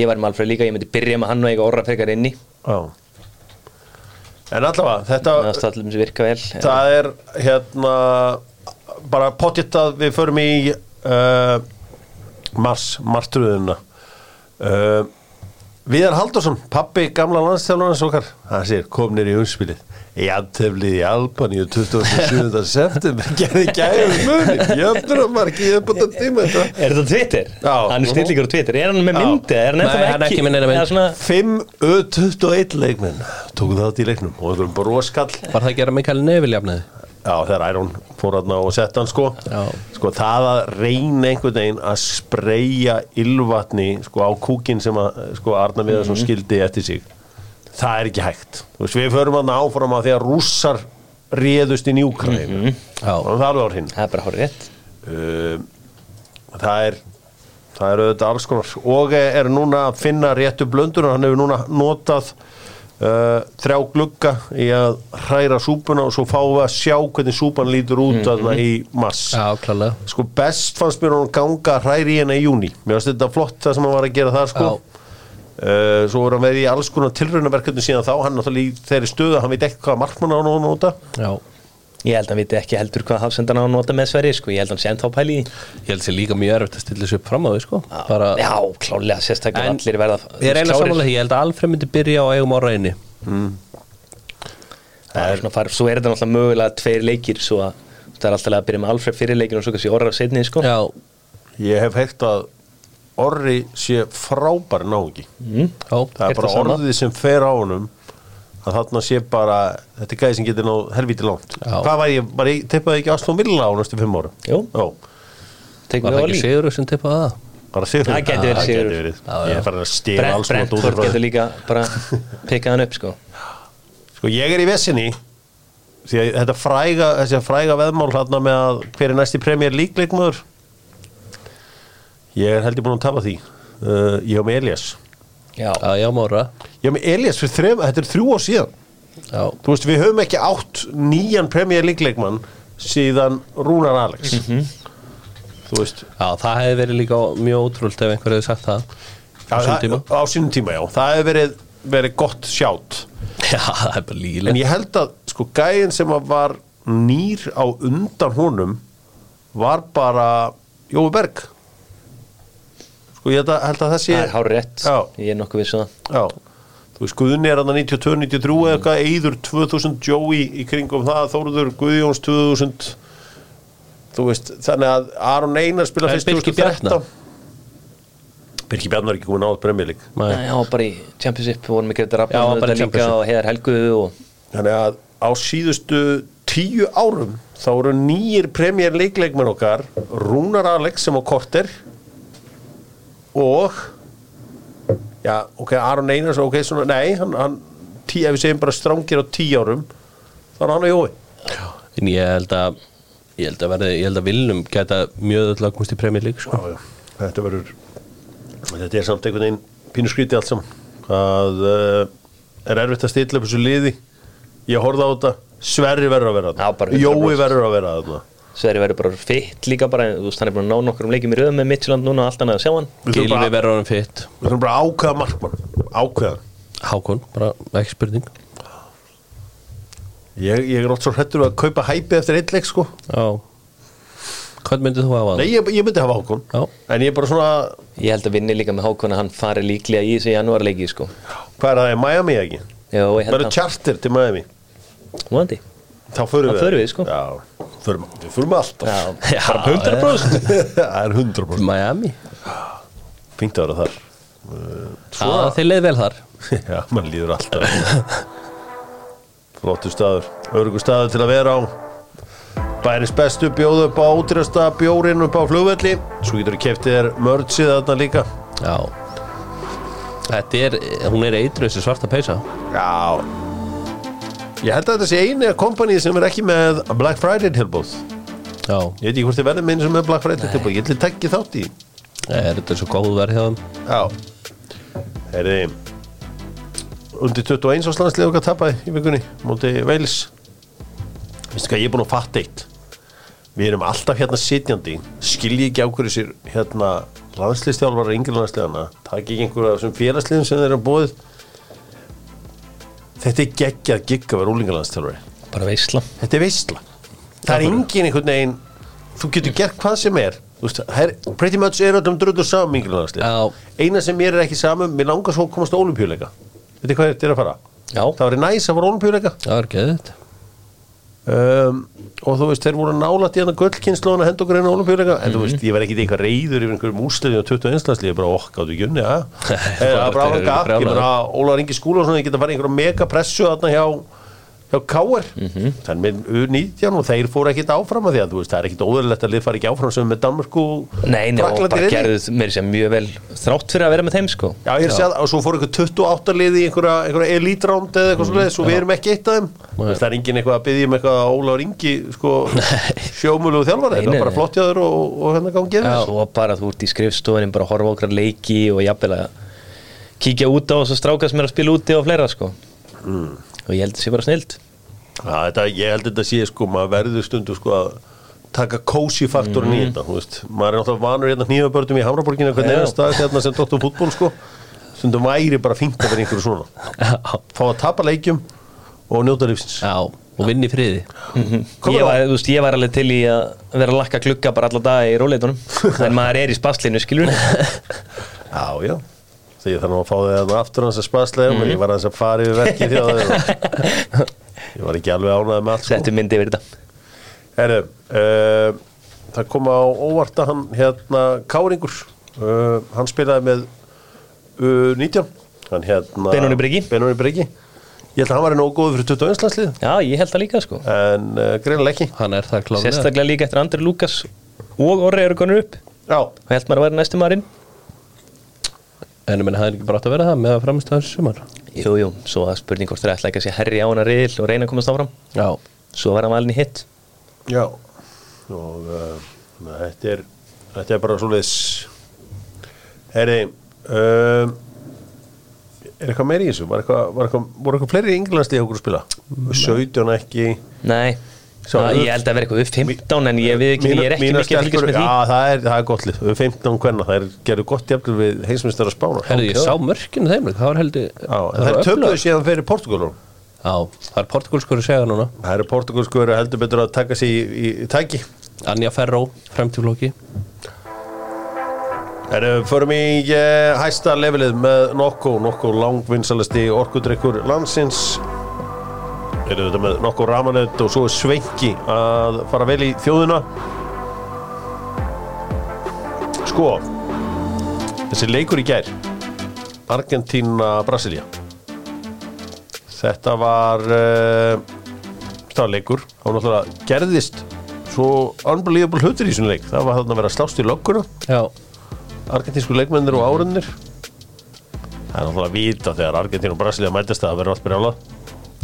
Speaker 3: ég var með Alfred líka, ég myndi byrja með hann og eiga orra frekar inni
Speaker 1: Já En allavega, þetta
Speaker 3: það er allum sem virka vel
Speaker 1: Það er hérna bara potjett að við förum í uh, Mars, Martröðuna uh, Viðar Haldursson pappi gamla landstjálfarnas okkar hann sér komnir í umspilið í aðteflið í Albaníu 27. september gerði um gæðum muni jöfnur að marki ég búin að tíma þetta
Speaker 3: er þetta Twitter?
Speaker 1: Já.
Speaker 3: hann er snillíkur á Twitter, er hann með
Speaker 1: Já.
Speaker 3: myndi? er hann
Speaker 2: Nei,
Speaker 3: ennþá
Speaker 2: hann er ekki með neina mynd.
Speaker 3: Eða svona-
Speaker 1: 5.21 leikmenn tóku þátt í leiknum og einhverjum broskall
Speaker 2: var það að gera Mikael Neville jafnæði
Speaker 1: Já, þegar Iron fór hann og sett hann sko
Speaker 2: Já.
Speaker 1: Sko það að reyna einhvern veginn að spreja ylvatni sko á kúkin sem að sko Arna Viðarsson skildi eftir sig Það er ekki hægt Þú veist, við förum hann áfram að því að rússar réðust inn í Úkraín mm -hmm.
Speaker 2: Já,
Speaker 1: Það er alveg á hinn
Speaker 3: það er bara horrið rétt
Speaker 1: uh, það er það eru auðvitað alls konar og er núna að finna réttu blöndur og hann hefur núna notað uh, þrjá glugga í að hræra súpuna og svo fáum við að sjá hvernig súpan lítur út þarna í mass
Speaker 2: Mhm. já klálega
Speaker 1: sko best fannst mér hún ganga að hræri hérna í júni mér finnst þetta flott það sem hann var að gera það sko
Speaker 2: Já.
Speaker 1: Uh, svo voru hann verið í alls konar tilraunaverkefni síðan þá, hann náttúrulega í þeirri stöðu hann veit ekki hvað markmann á hann á að nota
Speaker 2: Já,
Speaker 3: Ég held að hann viti ekki heldur hvað hafsendan á að nota með Sverri sko. Ég held að hann sé ennþá pæli í því.
Speaker 2: ég held sér líka mjög erfitt að stilla sér upp fram á því sko bara,
Speaker 3: Já, klálega, sérstaklega
Speaker 2: En-
Speaker 3: allir verða
Speaker 2: Ég er eiginlega
Speaker 3: klárir.
Speaker 2: samanlega, ég held að Alfred myndi byrja á eigum ára einni
Speaker 3: Það er svona farf, svo er þetta náttúrulega mögulega tveir leikir Svo að það er alltaf að byrja með Alfred fyrir leikir Og svo kannski orra setni sko.
Speaker 2: Já,
Speaker 1: ég hef heilt að orri sé frábær náungi
Speaker 3: Mm.
Speaker 2: já,
Speaker 1: það er bara
Speaker 3: Heyrt það sama.
Speaker 1: orðið sem fer á honum að þarna sé bara þetta er gæði sem getur náð helvítið langt
Speaker 2: Já.
Speaker 1: hvað var ég, bara ég teipaði ekki Aston Villa á næstu fimm ára
Speaker 3: Jú.
Speaker 2: var
Speaker 3: Tekum
Speaker 2: það
Speaker 3: við
Speaker 2: ekki
Speaker 3: Oli
Speaker 2: Sigur sem tippaði það?
Speaker 1: bara sigur
Speaker 3: Það gæti verið sigur.
Speaker 2: Já, já.
Speaker 1: ég er farin að stela
Speaker 3: Brent,
Speaker 1: alls konar
Speaker 3: Brent,
Speaker 1: dót út
Speaker 3: Þór
Speaker 1: frá
Speaker 3: getur
Speaker 1: þér.
Speaker 3: líka bara pikkað hann upp sko.
Speaker 1: sko ég er í vesinni því að þetta fræga þessi fræga veðmál hérna með að hver er næsti Premier League leikmaður ég er heldur búin að tapa því uh, ég hef með Elias
Speaker 3: Já,
Speaker 2: Já, já, Mára
Speaker 1: ég hef með Elias fyrir þrem, þetta er þrjú ár síðan
Speaker 2: Já,
Speaker 1: Þú veist, við höfum ekki átt nýjan Premier League leikmann síðan Rúnar Alex
Speaker 2: Mhm.
Speaker 1: Þú veist
Speaker 2: Já, það hefði verið líka mjög ótrúlt ef einhver hefði sagt það á sínum tíma
Speaker 1: Á sínum tíma, já Það hefur verið, verið gott sjátt
Speaker 2: Já, það er bara
Speaker 1: En
Speaker 2: lígileg
Speaker 1: ég held að, sko, gæðin sem að var nýr á undan honum var bara Jói Berg Sko, ég held að, held að það sé
Speaker 3: það er hár rétt
Speaker 1: Já.
Speaker 3: Ég er nokkuð um við svo
Speaker 1: Já, þú veist, Guðni er hann 92, 93 eða eitthvað, Eyður 2000 Joey í kringum það, Þóruður Guðjóns 2000 þú veist, þannig að Aron Einar spila
Speaker 2: En
Speaker 1: fyrst
Speaker 2: Birkir
Speaker 1: 2013 Birki Bjarnar er ekki komin áður bremjölík
Speaker 2: Nei.
Speaker 3: Já, bara í Championship vorum ekki þetta
Speaker 2: Já,
Speaker 3: rappað
Speaker 2: bara í
Speaker 3: líka
Speaker 2: Championship.
Speaker 3: og heiðar Helgu og
Speaker 1: þannig að á síðustu tíu árum þá eru nýjir premjör leikleikmenn okkar Rúnar Alex sem á korter og já, ok, Aron Einars ok, svona, nei, hann, hann tí, ef við segjum bara strángir á tíu árum þá er hann á Jói
Speaker 2: En ég held að ég held að, verði, ég held að Vilnum geta mjög öll að komast í Premier League sko.
Speaker 1: já, já. þetta verður þetta er samt einhvern veginn pínu skríti allt saman að uh, er erfitt að stilla upp þessu liði ég horfði á þetta, Sverri verður að vera
Speaker 3: Já, bara
Speaker 1: þarna
Speaker 3: 100%.
Speaker 1: Jói verður að vera þarna
Speaker 3: Sverri verður bara fitt líka bara, þú veist, hann er búin að ná nokkrum leikjum í röðum með Midtjylland núna og allt annað að sjá hann
Speaker 1: Við þurfum
Speaker 2: Gilvi
Speaker 1: bara,
Speaker 2: verður hann fitt
Speaker 1: við þurfum bara að ákveða markmann ákveða
Speaker 2: Hákon, bara ekki spurning
Speaker 1: ég, ég er alltaf svo hrettur við að kaupa hæpi eftir einn leik sko
Speaker 2: Já Hvað myndið þú hafa
Speaker 1: Nei,
Speaker 2: það?
Speaker 1: ég, ég myndi hafa ákon
Speaker 2: Já.
Speaker 1: En ég er bara svona,
Speaker 3: Ég held að vinni líka með Hákon að hann fari líklega í þessu janúarleiki sko.
Speaker 1: hvað er það, er Miami ekki?
Speaker 3: Já, ég held
Speaker 1: Verður charter til Miami
Speaker 3: að Vonandi
Speaker 1: Þá förum
Speaker 3: Þá
Speaker 1: við
Speaker 3: förum við, sko.
Speaker 1: Já, förum, við förum alltaf
Speaker 3: Já,
Speaker 2: Já,
Speaker 3: bara 100%
Speaker 1: Það er 100%
Speaker 2: Miami
Speaker 1: Fengt að vera þar
Speaker 2: Já, þeir leið vel þar
Speaker 1: Já, mann líður alltaf Flottu staður Örugu staður til að vera á Bæris bestu bjóðu upp á útresta bjórin upp á flugvelli Svo getur þú keftið þér mördsið þarna líka
Speaker 2: Já Þetta er, hún er eitru þessi svarta peysa
Speaker 1: Já Ég held að þetta sé einu kompanið sem er ekki með Black Friday tilbúð
Speaker 2: Já,
Speaker 1: Ég veit ekki hvort þið verðum einu sem er með Black Friday tilbúð Ég ætli tekki þátt í
Speaker 2: er þetta svo góð verð hjá þeim
Speaker 1: Já Herði Undir 21 árs landslið okkar tapaði í vikunni Móti Veils Vistu hvað, ég er búin að fatta eitt Við erum alltaf hérna sitjandi Skilji ekki á hverju sér hérna Landslistjálfara yngri landsliðana Takk ekki einhverja af þessum félagsliðum sem þeir eru búið Þetta er geggjað gigg að vera úlingalandstjálfari
Speaker 3: Bara veisla
Speaker 1: Þetta er veistla Það er engin einhvern veginn Þú getur gert hvað sem er Þú veist, her, Pretty much er öllum um dröður saman
Speaker 2: Já.
Speaker 1: yngirlanarslið Eina sem mér er ekki saman Mér langar svo að komast á olimpíuleika Þetta er hvað þetta er að fara
Speaker 3: Já.
Speaker 1: Það var næs að fara á olimpíuleika
Speaker 2: Það er geðið þetta
Speaker 3: Ehm,
Speaker 1: um, Og þú veist, þeir voru nálætt í hann Gullkynnslóðan að henda okkur einn á
Speaker 3: Mhm.
Speaker 1: olimpíuleika En þú veist, ég var ekki eitthvað reyður Yfir einhverjum úsliði og 21 landslið Ég bara okkað við gjunni, ja Það
Speaker 2: bara-
Speaker 1: er bara
Speaker 2: þeir eru
Speaker 1: alveg gaf Eh, Ég
Speaker 2: brjálaðir.
Speaker 1: meina, Ólaður Ingi Skúlason Ég geta farið í einhverja megapressu Þarna hjá hjá K.R. Mm
Speaker 3: Mhm.
Speaker 1: -hmm. þannig með U19 og þeir fóru ekkit áfram að því að þú veist það er ekkit óðurlegt að lið fara ekki áfram sem með Danmörku
Speaker 3: Nei, nei, og bara gerðu mér sem mjög vel þrátt fyrir að vera með þeim sko
Speaker 1: Já, ég er að segja það, og svo fóru eitthvað 28 lið í einhverja, einhverja elítránd eða eitthvað mm, svoleiðis og við erum ekki eitt af þeim Þú veist, það er engin eitthvað að byggja um eitthvað að Ólaður Ingi sko, sjómulu og þjálfari,
Speaker 3: Nei,
Speaker 1: þetta
Speaker 3: nei,
Speaker 1: er bara
Speaker 3: nei.
Speaker 1: flott jáður og, og hérna gangi
Speaker 3: Já.
Speaker 1: þess
Speaker 3: Svo bara þú ert í skrifstofunum bara að horfa okkar leiki og jafnvel að kíkja út á þessu stráka sem er að spila úti og fleira sko og ég held að sé bara snilt
Speaker 1: Já, þetta, ég held þetta sé sko, maður verður stundu sko að taka kósi faktorin í þetta, þú veist, maður er náttúrulega vanur hérna hníðabörnum í Hamraborginu, hvernig
Speaker 3: Mhm. Já.
Speaker 1: er stað hérna sem doktor fútból sko, stundum væri bara fínt að vera einhverju svona,
Speaker 2: Já,
Speaker 1: fá að tapa leikjum og njóta lífsins.
Speaker 2: já, og vinni í friði
Speaker 1: Komum
Speaker 3: ég var, þú veist, ég var alveg til í að vera að lakka klukka bara alla daga í róleitunum en maður er í spaslinu skilur
Speaker 1: Já, já, þegar þannig að fá þig þarna aftur hans að spaslega,
Speaker 3: Mhm.
Speaker 1: menn ég var aðeins að fara yfir verkið hjá þeir og ég var ekki alveg ánægð með allt sko.
Speaker 3: settu myndi yfir þetta
Speaker 1: Herðu, uh, það kom á óvart að hann hérna Káringur, uh, hann spilaði með uh, 19, hann hérna
Speaker 3: Benóni Breki.
Speaker 1: Benóni Breki. Ég held að hann var nógu góður fyrir 21 landslið,
Speaker 3: já, ég held það líka sko
Speaker 1: en uh, greinilega ekki.
Speaker 2: Hann er það klálega
Speaker 3: sérstaklega líka eftir að Andri Lukas og Orri eru konur upp
Speaker 1: Já,
Speaker 3: og held maður að vera næstu maðurinn
Speaker 2: En ég menn, það er ekki bara átt að vera það með að framist þessu sumar
Speaker 3: jú, jú, svo að spurning hvort þeir ætla ekki að sé herri á hana riðil og reyna að komast áfram
Speaker 2: Já,
Speaker 3: svo var hann valin í hitt
Speaker 1: já, og uh, þetta, er, þetta er bara svoleiðis. Herri, um, er eitthvað meira í þessu? Var eitthvað, var eitthvað, voru eitthvað fleiri ynglandslið hjá okkur að spila? 17 ekki...
Speaker 3: nei,
Speaker 1: Svo-
Speaker 3: Já, ég held að vera eitthvað upp 15 en ég, við,
Speaker 1: Mína-
Speaker 3: ég er ekki
Speaker 1: mínar
Speaker 3: mikið að fylgjast
Speaker 1: stelpur-
Speaker 3: með því
Speaker 1: Já, það er, það er gott lið, við 15 hvenna það er, gerðu gott jafnir við heimsmyndstara spána
Speaker 2: herrðu, ég sá mörkinu þeim leik, Það var heldur
Speaker 1: Já, en það er töpuðu síðan fyrir Portugalum
Speaker 2: Já, það er portugalskur að segja núna
Speaker 1: Það eru portugalsku eru heldur betur að taka sér í, í, í tæki
Speaker 2: Anja Ferró, fremtíflóki
Speaker 1: En við förum í eh, hæsta levelið með Nokko, Nokko langvinsalasti orkudrykkur landsins Eru þetta með Nokko Ramanet og svo er Sveinki að fara vel í þjóðina Sko Þessi leikur í gær Argentína Brasilia Þetta var uh, það var leikur þá náttúrulega gerðist svo unbelievable hlutur í þessum leik það var þarna að vera slást í lögguna
Speaker 2: Já,
Speaker 1: argentinsku leikmennir og árunnir það Mhm. er náttúrulega vita þegar Argentín og Brasilia mætast að það verður allt brjálað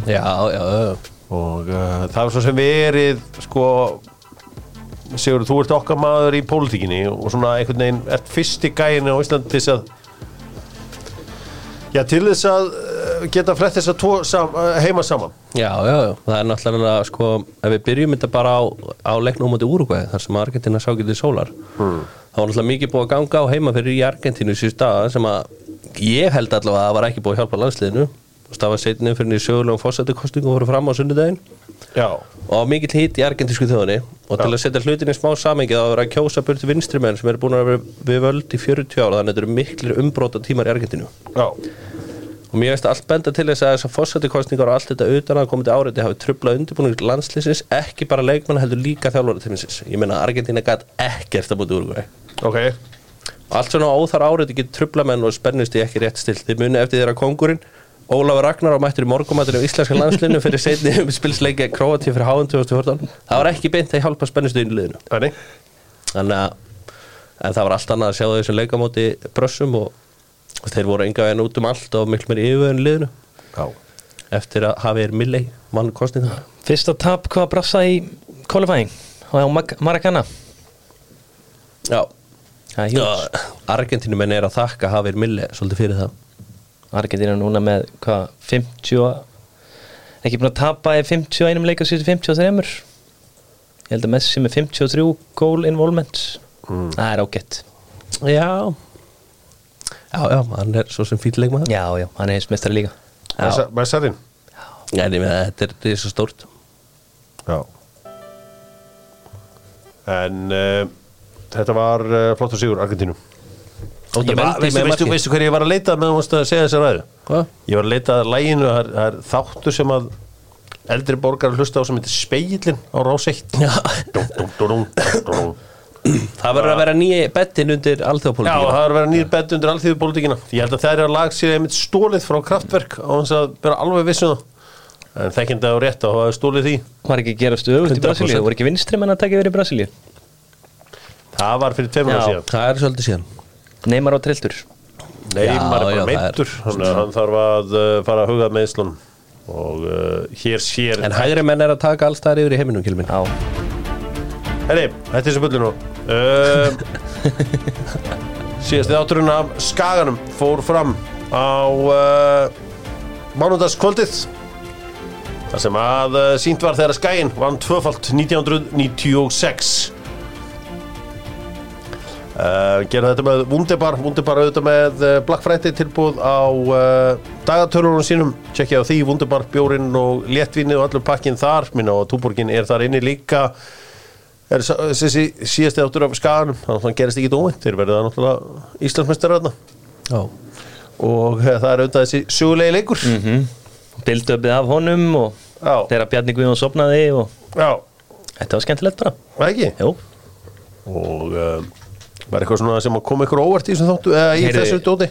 Speaker 2: já, já, já.
Speaker 1: og uh, það er svo sem verið sko Sigur, þú ert okkar maður í pólitíkinni og svona einhvern veginn, ert fyrsti gæin á Íslandi til þess að já, til þess að uh, geta flett þess að tvo sam, uh, heima saman
Speaker 2: Já, já, já, það er náttúrulega sko, ef við byrjum þetta bara á, á leiknum á móti Úrugvæði, þar sem Argentina sá getið sólar
Speaker 1: Hmm.
Speaker 2: þá var náttúrulega mikið búið að ganga á heima fyrir í Argentínu síðust daga sem að ég held allavega að það var ekki búið að hjálpa landsliðinu og stafa seitinni fyrir í sögulegum fórsættukostningu og voru fram á sunnudaginn
Speaker 1: já,
Speaker 2: og á mikill hitt í argentinsku þjóðunni og
Speaker 1: Já.
Speaker 2: til að setja hlutinni í smá samengi þá verður að kjósa burti vinstri menn sem eru búin að vera við völd í 40 ára þannig að þetta eru miklir umbróta tímar í Argentínu
Speaker 1: já,
Speaker 2: og mér veist allt benda til þess að þessar fórsættikostningar og allt þetta utan að komandi áriði hafi trublað undirbúning landslýsins ekki bara leikmann heldur líka þjálfari tíminsins ég meina Argentina gæt ekkert að búti úrugvæði
Speaker 1: ok
Speaker 2: allt svona óþar áriði getur trublað menn og spennust í ekki rétt stilt þið muni eftir þeirra kongurinn Ólafur Ragnar á mættur í morgumatinu í íslenska landslinu fyrir setni spilsleikja Kroatíu fyrir háðan 2014 það var ekki beint að hjálpa spennustu inn í liðinu
Speaker 1: þannig,
Speaker 2: þannig að en það var allt annað að sjá þau þessum leikamóti brössum og þeir voru enga veginn út um allt og miklu meiri yfirvöðin í liðinu
Speaker 1: já,
Speaker 2: eftir að Javier Milley vann kostninga
Speaker 3: Fyrsta tap hvað brassa í qualifying og á Mag- Maracana
Speaker 2: Já,
Speaker 3: Það er hjúls
Speaker 2: Argentínumenn er að þakka Javier Milley svolítið fyrir það
Speaker 3: Argentina núna með hvað 50 og- ekki búin að tapa í 51 leik og síðustu 53 ég held að Messi með 53 goal involvement
Speaker 1: Mm.
Speaker 3: það er ágætt
Speaker 2: Já Já, já, hann er svo sem fýtleikmaður
Speaker 3: já já, hann er heimsmeistari líka
Speaker 1: Messa- messarinn
Speaker 2: Já, en ég með þetta er, þetta er svo stórt
Speaker 1: já en uh, þetta var uh, flottur sigur Argentínu
Speaker 2: Óttar
Speaker 1: Ég var-
Speaker 2: Mendy
Speaker 1: veistu,
Speaker 2: með
Speaker 1: veistu,
Speaker 2: markið.
Speaker 1: veistu hverju ég var að leita með þú varst að segja þessa ræðu
Speaker 2: Hvað?
Speaker 1: Ég var að leita að læginu, það er, það er þáttur sem að eldri borgar hlusta á sem heitir Speilin á rás 1
Speaker 2: Já,
Speaker 1: Dum, dum, dum, dum, dum.
Speaker 2: það verður að vera nýja bettin undir
Speaker 1: Já,
Speaker 2: alþjóðpólitíkina
Speaker 1: það er að vera nýr bett undir allþýðu pólitíkina Ég held að það er að lag sér einmitt stólið frá kraftverk á hans að vera alveg vissum það en þekkjandi á rétt á að hafa stólið því
Speaker 3: var ekki að gerast öfugt í
Speaker 2: 100%.
Speaker 3: Brasilíu voru ekki vinstri menn að taka yfir í Brasilíu
Speaker 1: Það var fyrir tveimur ára
Speaker 3: Já.
Speaker 1: síðan
Speaker 2: Það er svolítið síðan
Speaker 3: neymar á trilltur
Speaker 1: Neymar
Speaker 2: Já,
Speaker 1: er bara
Speaker 2: já, það er-
Speaker 1: meittur þannig að hann þarf að uh, fara að huga með Ísland og uh, hér sér
Speaker 2: En hægri menn er að taka alls þar yfir í heiminum kilmin
Speaker 3: já,
Speaker 1: Herri, þetta er sem bullir nú uh, Síðasti þátturinn af skaganum fór fram á uh, mánudagskvöldið Það sem að uh, sínt var þegar skaginn vann tvöfalt 1996 Uh, gera þetta með Wunderbar Wunderbar auðvitað með uh, Black Friday tilbúð á uh, dagatölunum sínum tjekkja á því, Wunderbar bjórinn og léttvinni og allur pakkinn þar minna og túborgin er þar inni líka er sá- þessi síðasti áttur af skaganum þannig að hann gerist ekki dómið, þeir verða náttúrulega Íslandsmeistar þarna
Speaker 2: Já
Speaker 1: og eh, það er auðvitað þessi sögulegi leikur
Speaker 3: bildöpið af honum og
Speaker 1: Já.
Speaker 3: þegar Bjarni Guðjón sopnaði og
Speaker 1: já,
Speaker 3: þetta var skemmtilegt bara
Speaker 1: það ekki
Speaker 3: Jó.
Speaker 1: og uh, var eitthvað svona sem að koma ykkur á óvart í, þessum þáttu, eða í
Speaker 3: Heyrðu,
Speaker 1: þessu dóti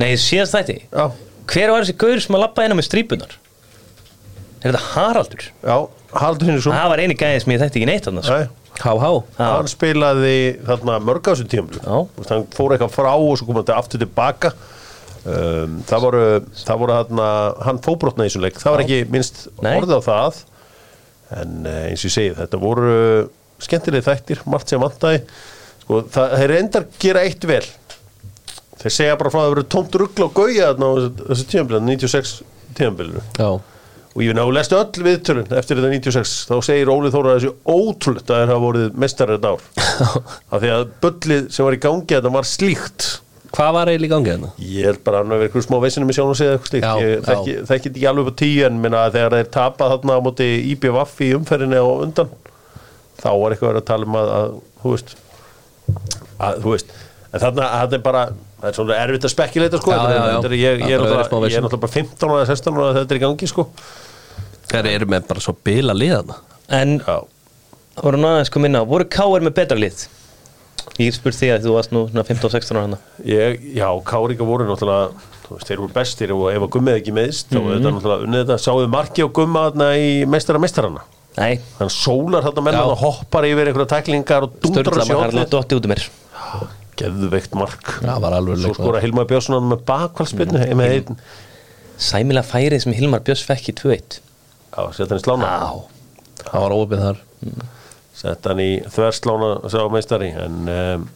Speaker 3: nei, síðast þætti
Speaker 1: já,
Speaker 3: hver var þessi gaur sem að lappa inn á með strípunar er þetta Haraldur
Speaker 1: já, Haldur hinn er svona
Speaker 3: það var eini gæði sem ég þekkti ekki neitt annars
Speaker 2: Há, há
Speaker 3: Já.
Speaker 1: hann spilaði þarna mörg á þessu tímlu
Speaker 3: Já.
Speaker 1: sko. hann fór eitthvað frá og svo kom hann aftur tilbaka um, það voru það voru þarna, hann fóbrotna í þessum leik það var ekki minnst
Speaker 3: Nei.
Speaker 1: orðið á það en eh, eins og ég segi þetta voru skemmtilegi þættir margt sem vantæði sko, það, þeir reyndar gera eitt vel þeir segja bara frá að það voru tómt ruggla og gauja þarna á þessu- þessu tímlu 96 tímlu
Speaker 2: Já
Speaker 1: og ég finna að lestu öll viðtölun eftir þetta 96 þá segir Óli Þóra þessu ótrúlegt að þeir hafa voruð mestar þetta ár af því að bullið sem var í gangi þetta var slíkt
Speaker 2: Hvað var eiginlega í gangi hérna? þarna?
Speaker 1: ég held bara að hann hafi verið eitthvað smá veisinu með sjálf og segja eitthvað slíkt
Speaker 2: Já,
Speaker 1: ég
Speaker 2: já.
Speaker 1: þekki þekki þetta ekki alveg upp á tíu en minna að þegar þeir tapa þarna á móti IBVF í umferðinni og undan þá var eitthvað verið að tala um að, að þú veist að þú veist en þarna að þetta er bara það er svona erfitt að spekjuleita sko
Speaker 2: Já,
Speaker 1: þetta er-
Speaker 2: já, já.
Speaker 1: þetta er- ég, ég,
Speaker 2: Það
Speaker 1: er
Speaker 2: er bara verið smá
Speaker 1: náttúrulega- ég er
Speaker 2: vesen.
Speaker 1: náttúrulega bara 15 ára eða 16 ára að þetta er í gangi sko
Speaker 2: Þeir eru með bara svo bila liðana
Speaker 3: en
Speaker 1: já
Speaker 3: voru nú aðeins kom inn á voru K.R. með betra lið ég get spurt því að þú varst nú svona 15 og 16 ára hana
Speaker 1: Ég, já, Káringa voru náttúrulega þú veist, þeir voru
Speaker 2: Mhm.
Speaker 1: bestir og ef að gummið ekki meðist þá er þetta náttúrulega unnið þetta, sáðu marki og gumma þarna í meistara meistarana
Speaker 3: Nei,
Speaker 1: hann sólar þarna menn
Speaker 2: Já.
Speaker 1: og hoppar yfir einhverja tæklingar og dundrar
Speaker 3: störla maður hann
Speaker 1: sjóðið
Speaker 3: látt dotti út um mér
Speaker 1: geðveikt mark
Speaker 2: Það var alveg Mhm.
Speaker 1: svo skora Hilmar Björnsson með bakvaldspinnu mm. með einn
Speaker 3: Sæmilega færið sem Hilmar Björns fekk í 2-1
Speaker 1: á, setta hann í slána
Speaker 3: Á,
Speaker 2: Það var óopið þar
Speaker 1: setta hann í þverslána sá meistari en um,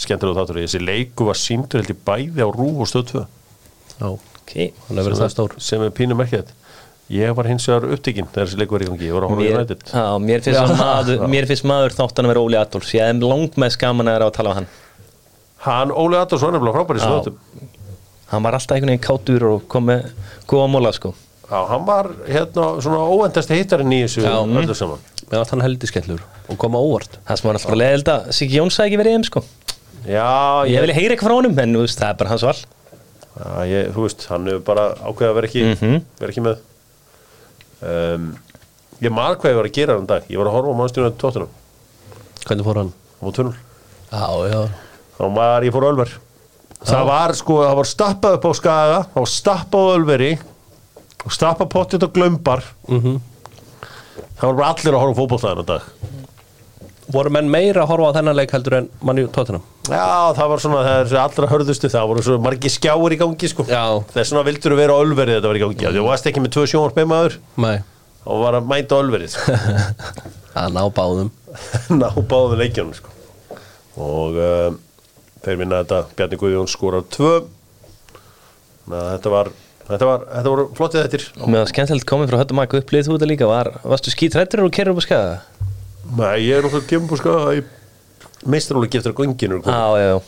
Speaker 1: skemmtilega þáttur þessi leiku var síndur held í bæði á Rúf og Stöð 2
Speaker 2: Já,
Speaker 3: ok
Speaker 2: hann hefur verið það stór
Speaker 1: sem er pínum merkjætt ég var hins vegar upptekinn þegar þessi leiku var í gangi ég var að horfa í
Speaker 3: Mér,
Speaker 1: rættit
Speaker 3: á, mér, finnst hann maður, mér finnst maður þáttan að vera Óli Adolfs Ég hef langt með skaman að vera að tala um hann
Speaker 1: hann Óli Adolfsson er bara frábæri
Speaker 3: Já.
Speaker 1: svo
Speaker 3: Hann var alltaf einhvern veginn kátur og kom með góða móla sko
Speaker 1: Já, hann var hérna svona óendasti hittarinn í þessu
Speaker 2: Já.
Speaker 1: öllu saman.
Speaker 2: Mér varst hann heldi skellur og koma óvart
Speaker 3: Það sem var alltaf bara leðild að Siggi Jóns hafði ekki verið í þeim sko
Speaker 1: Já,
Speaker 3: Ég vil heyra eitthvað frá honum en þú veist, það er bara hans val
Speaker 1: Já, ég, þú veist, hann hefur bara ákveðið að vera ekki, vera ekki með um, Ég marg hvað ég var að gera hann dag Ég var að horfa á mannstjónu að tóttunum
Speaker 2: Hvernig fór hann?
Speaker 1: og tunnul
Speaker 2: Já, já
Speaker 1: og maður, ég fór á Ölver Það var sko, það var stappað upp á Skaga það var stappað á Ölveri og stappað pottet og glömbar
Speaker 2: Mhm.
Speaker 1: Það var bara allir að horfa fótbolltaðan dag
Speaker 2: Voru menn meira að horfa á þennan leik heldur en manni tóttina?
Speaker 1: Já, það var svona, það er þessi allra hörðustu það voru svo margir skjáir í gangi sko
Speaker 2: Já.
Speaker 1: Þess vegna vildur vera á Ölveri þetta var í gangi mm. Þú varst ekki með tvö sjónvarpið maður
Speaker 2: Nei
Speaker 1: og var að mæta á Ölverið sko.
Speaker 2: Að ná báðum
Speaker 1: ná báðu leikjunum sko. og um, þeir minna þetta Bjarni Guðjón skorar tvö Ná, þetta var þetta, var, þetta voru flottið þettir
Speaker 3: Og með það skemmtilegt komið frá höttum að upplýðið þú þetta líka var, Varstu skítrættur og kerur upp á skaga?
Speaker 1: Nei, ég er náttúrulega kemur sko að ég meistar alveg getur að gönginu
Speaker 3: Já, já, já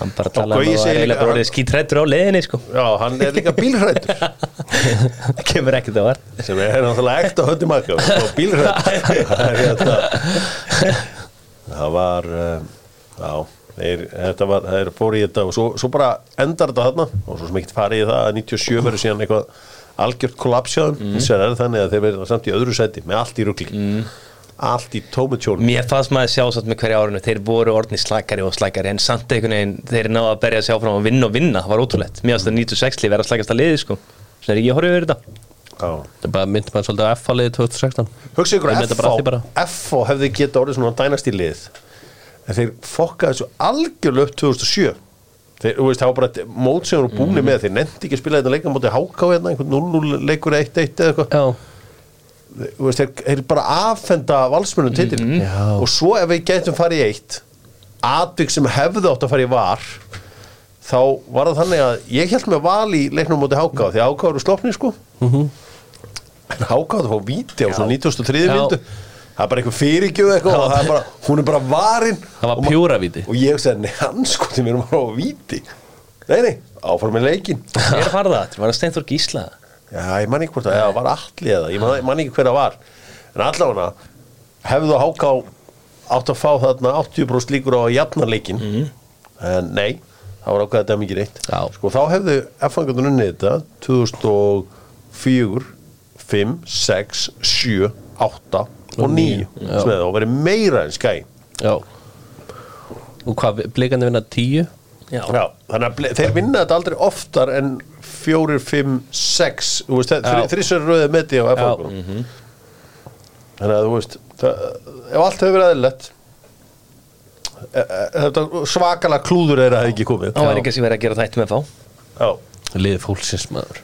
Speaker 3: Hann bara talaði
Speaker 1: Gaui
Speaker 3: um að það
Speaker 1: segir
Speaker 3: var
Speaker 1: líka-
Speaker 3: eiginlega bara orðið skítrættur á leiðinni sko
Speaker 1: Já, hann er líka bílhrættur
Speaker 3: Það kemur ekkert það var
Speaker 1: sem er náttúrulega ekta höndumaka og bílhrættur það er hérna það var um, já, þeir, þetta var þeir fóru í þetta og svo, svo bara endar þetta þarna og svo sem ekkert farið í það að 97 verður síðan eitthvað algjört kollapsjáðum mm. sem er þannig að þeir verður samt í öðru seti með allt í rugli allt í tómutjónum
Speaker 3: Mér fannst maður sjálfsagt með hverja árinu Þeir voru orðni slækari og slækari En samt einhvern veginn þeir náðu að berja sig áfram og vinna og vinna Það var ótrúlegt Mér fannst það 96 lið vera slækast að liði sko Svona er ég horfið yfir þetta
Speaker 1: mm.
Speaker 2: Það bara myndi maður svolítið á F-liði 2016
Speaker 1: hugsa ykkur
Speaker 2: Þeir
Speaker 1: að
Speaker 2: mynda bara allt í bara.
Speaker 1: FH FH hefði geta orðið svona dænastílið en þeir fokkaði þessu algjörlega upp 2007 þeir, þú veist, það var bara mót sem voru
Speaker 2: Mm.
Speaker 1: búni með þeir nefndi ekki að spila þetta leika móti háká hérna, einhvern 0-0 leikur 1-1 eða eitthvað
Speaker 2: Já
Speaker 1: Þú veist, þeir, þeir bara affenda valsmönnum titil
Speaker 2: Já.
Speaker 1: og svo ef við getum farið í eitt atvik sem hefði átt að fara í var þá var það þannig að ég held með val í leiknum móti háká því að háká eru slopni sko en háká það fá víti á svona 93.
Speaker 2: Já.
Speaker 1: vindu það er bara einhver fyrirgjöð eitthvað og það er bara, hún er bara varin
Speaker 2: Það var
Speaker 1: og, ma-
Speaker 2: pjúravíti
Speaker 1: og ég sagði, nei hann sko því mér erum bara á víti nei, nei, áfram með leikin
Speaker 3: Hver var það? Það var að Steinþór Gísla
Speaker 1: Já, ég man ekki hvort að það var allir eða, ég man, ég man ekki hver það var en allavega hefðu háká átt að fá þarna 80% líkur á að jafna leikin en nei, það var ákveða dæmi ekki reitt
Speaker 2: Mhm. Já.
Speaker 1: sko þá hefðu F-fangatun unnið þetta 2004 5, 6, 7 8 og 9
Speaker 2: Já.
Speaker 1: sem hefði þá verið meira en skæ
Speaker 2: Já Og hvað, blikandi vinna 10
Speaker 3: Já,
Speaker 1: Já, þannig að ble- þeir vinna þetta aldrei oftar en 4, 5, 6 þú veist,
Speaker 2: Já.
Speaker 1: þrísverður rauðið meti á FH þannig að þú veist það, ef allt hefur verið aðeinlegt þetta svakalega klúður er að það ekki komið
Speaker 3: það var ekki sem verið að gera þættu með fá
Speaker 1: Já.
Speaker 2: Lið fólksins maður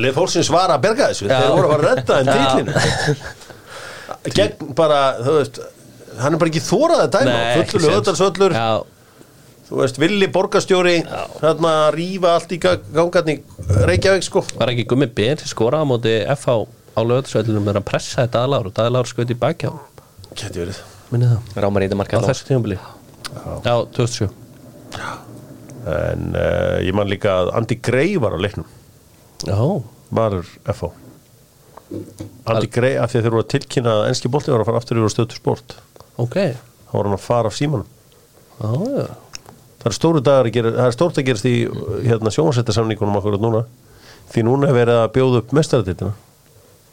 Speaker 1: Lið fólksins var að berga þessu þeir voru að fara að redda en titlinu gegn bara, þú veist hann er bara ekki þórað að dæma
Speaker 2: Nei, ekki
Speaker 1: fullur
Speaker 2: séns.
Speaker 1: löðarsöllur
Speaker 2: Já,
Speaker 1: þú veist, villi borgarstjóri þarna að rífa allt í gang- gangarni í Reykjavík sko
Speaker 2: var ekki gummi Ben sem skoraði á móti FH á lögatisveitinu með að pressa þetta aðláru og aðláru skoði í bakjá
Speaker 1: Geti verið
Speaker 2: minni það,
Speaker 3: Rámar í
Speaker 2: á
Speaker 3: þetta marka
Speaker 2: þessu tímabili Já, 2007
Speaker 1: En uh, ég man líka að Andy Gray var á leiknum
Speaker 2: Já,
Speaker 1: Varur FH Andy Gray af því að þeir voru að tilkynna að enski bolti var að fara aftur yfir á stöðtu sport
Speaker 2: ok Já,
Speaker 1: þá var hann að fara af símanum
Speaker 2: já,
Speaker 1: Það er stóru dagar að gera, það er stórt að gerast í hérna sjónvarsættasamningunum okkur núna því núna er verið að bjóða upp mestaratitina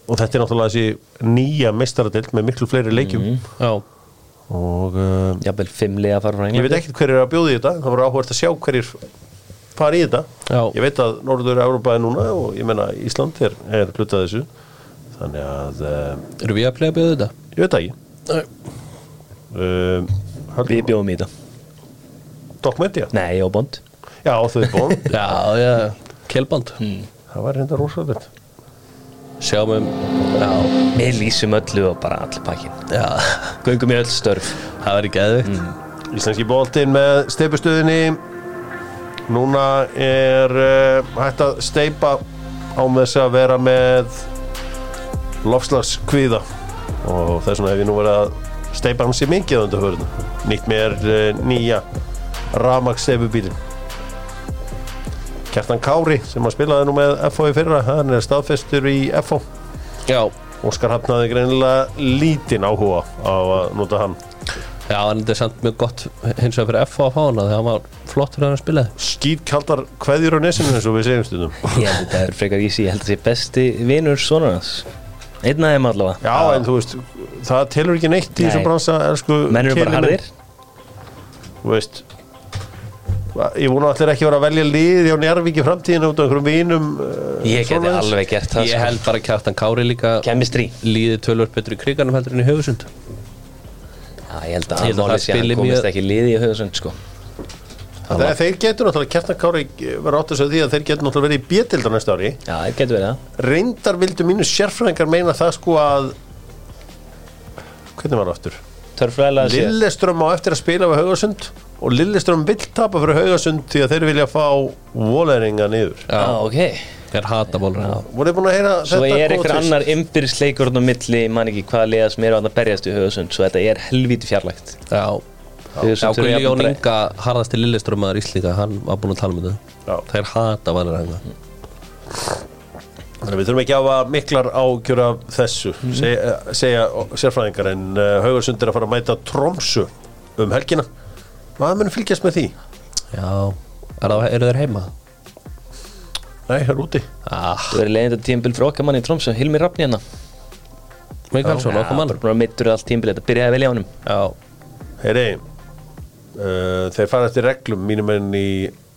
Speaker 1: og þetta er náttúrulega þessi nýja mestaratilt með miklu fleiri leikjum
Speaker 2: já
Speaker 1: og uh,
Speaker 3: Jafnvel fimm lið að fara frá
Speaker 1: Ég veit ekkert hverjir er að bjóða í þetta, það voru áhverjast að sjá hverjir fara í þetta.
Speaker 2: Já.
Speaker 1: Ég veit að Norður Európa er núna og ég menna Ísland er, er hlutað þessu. þannig að uh,
Speaker 2: Eru við að playa að bjóða þetta?
Speaker 1: ég veit það ekki
Speaker 2: Nei.
Speaker 1: um,
Speaker 3: Við bjóðum í þetta
Speaker 1: Documentia?
Speaker 3: Nei, og Bond
Speaker 1: Já, þau bóðum
Speaker 2: Já, já, kelband
Speaker 1: Það var reynda rosalegt
Speaker 2: Sjáum um, já,
Speaker 3: Við lýsum öllu og bara allir pakkin
Speaker 2: já
Speaker 3: Göngum í öll störf
Speaker 2: Það verður geðvikt
Speaker 1: Íslenski boltinn með steipustuðinni Núna er uh, hægt að steipa á með þess að vera með lofslagskvíða og þess vegna hef ég nú verið að steipa hann sér mikið á undanförðinu nýtt mér uh, nýja Ramax steipubílin Kjartan Kári sem að spilaði nú með FO í fyrra hann er staðfestur í FO
Speaker 2: Já,
Speaker 1: Óskar hafnaði greinilega lítinn áhuga á að nota hann
Speaker 2: já, en þetta er samt mjög gott hins vegar fyrir FH að fá hana þegar hann var flott fyrir hann að spila
Speaker 1: skýtkaldar kveðjur á nesinu eins og við segjum stundum
Speaker 3: Ég held að þetta er frekar ísi, ég held að það sé besti vinur sonarnas Einn af þeim allavega
Speaker 1: Já, en þú veist, það telur ekki neitt í
Speaker 3: Nei.
Speaker 1: þessum bransa, elsku
Speaker 3: Menn eru bara
Speaker 1: kynin minn.
Speaker 3: harðir
Speaker 1: Þú veist Ég vona allir ekki vera að velja lið á Njarvík í framtíðinu út af einhverjum vinum eh,
Speaker 3: Ég geti
Speaker 1: svoleiðis.
Speaker 3: alveg gert það sko.
Speaker 2: Ég held bara kjartan Kári líka
Speaker 3: Kemistri
Speaker 2: líði tölvöld betur í kriganum heldur en í höfusund
Speaker 3: Já,
Speaker 2: Ég
Speaker 3: ég held að
Speaker 2: held að það
Speaker 3: Amáli sé að hann
Speaker 2: spili
Speaker 3: komist
Speaker 2: mjög-
Speaker 3: ekki liði í höfðsönd sko
Speaker 1: Þegar þeir getur náttúrulega, Kjartan Kári var átt að segja því að þeir getur náttúrulega verið í B-tild á næsta ári
Speaker 3: Já, það getur verið það
Speaker 1: Reyndar vildu mínu sérfræðingar meina það sko að Hvernig var það aftur?
Speaker 3: Törfræðilega sé
Speaker 1: Lilleström á eftir að spila við Haugasund og Lilleström vill tapa fyrir Haugasund því að þeir vilja fá Walleringa niður
Speaker 3: Já, Ah, ok
Speaker 2: Ég er hata bólur Já,
Speaker 1: voru þið búin að heyra
Speaker 3: Svo
Speaker 1: þetta
Speaker 3: er
Speaker 1: góða
Speaker 3: einhver
Speaker 1: tvist?
Speaker 3: annar ymbirðsleikurinn á milli, ég man ekki hvaða liða sem eru að berjast í höfðsönd Svo þetta er helvíti fjarlægt
Speaker 2: já Já,
Speaker 3: Höfðsund eru
Speaker 2: Guðli Jón
Speaker 3: jafnvel bara-
Speaker 2: Inga, harðasti lilleströmmaður Íslika, hann var búin að tala um þetta
Speaker 1: Já.
Speaker 2: Þeir hata valir hengar
Speaker 1: Þannig að við þurfum ekki að hafa miklar ágjur af þessu
Speaker 3: Mhm.
Speaker 1: segja, segja sérfræðingar en uh, Haugasund er að fara að mæta Tromsu um helgina maður mun fylgjast með því
Speaker 2: Já, er það, eru þeir heima?
Speaker 1: Nei, hér úti
Speaker 2: Ah,
Speaker 3: Þú verður leiðin þetta tímbil frá okkar manni í Tromsö, Hilmi Rafni hérna
Speaker 2: Mikalsson,
Speaker 3: Já,
Speaker 2: okkur mann
Speaker 3: bara búin að mittur allt tímbil, þetta byrjaði vel í honum
Speaker 2: Já,
Speaker 1: Heyri, uh, þeir fara eftir reglum mínum enn í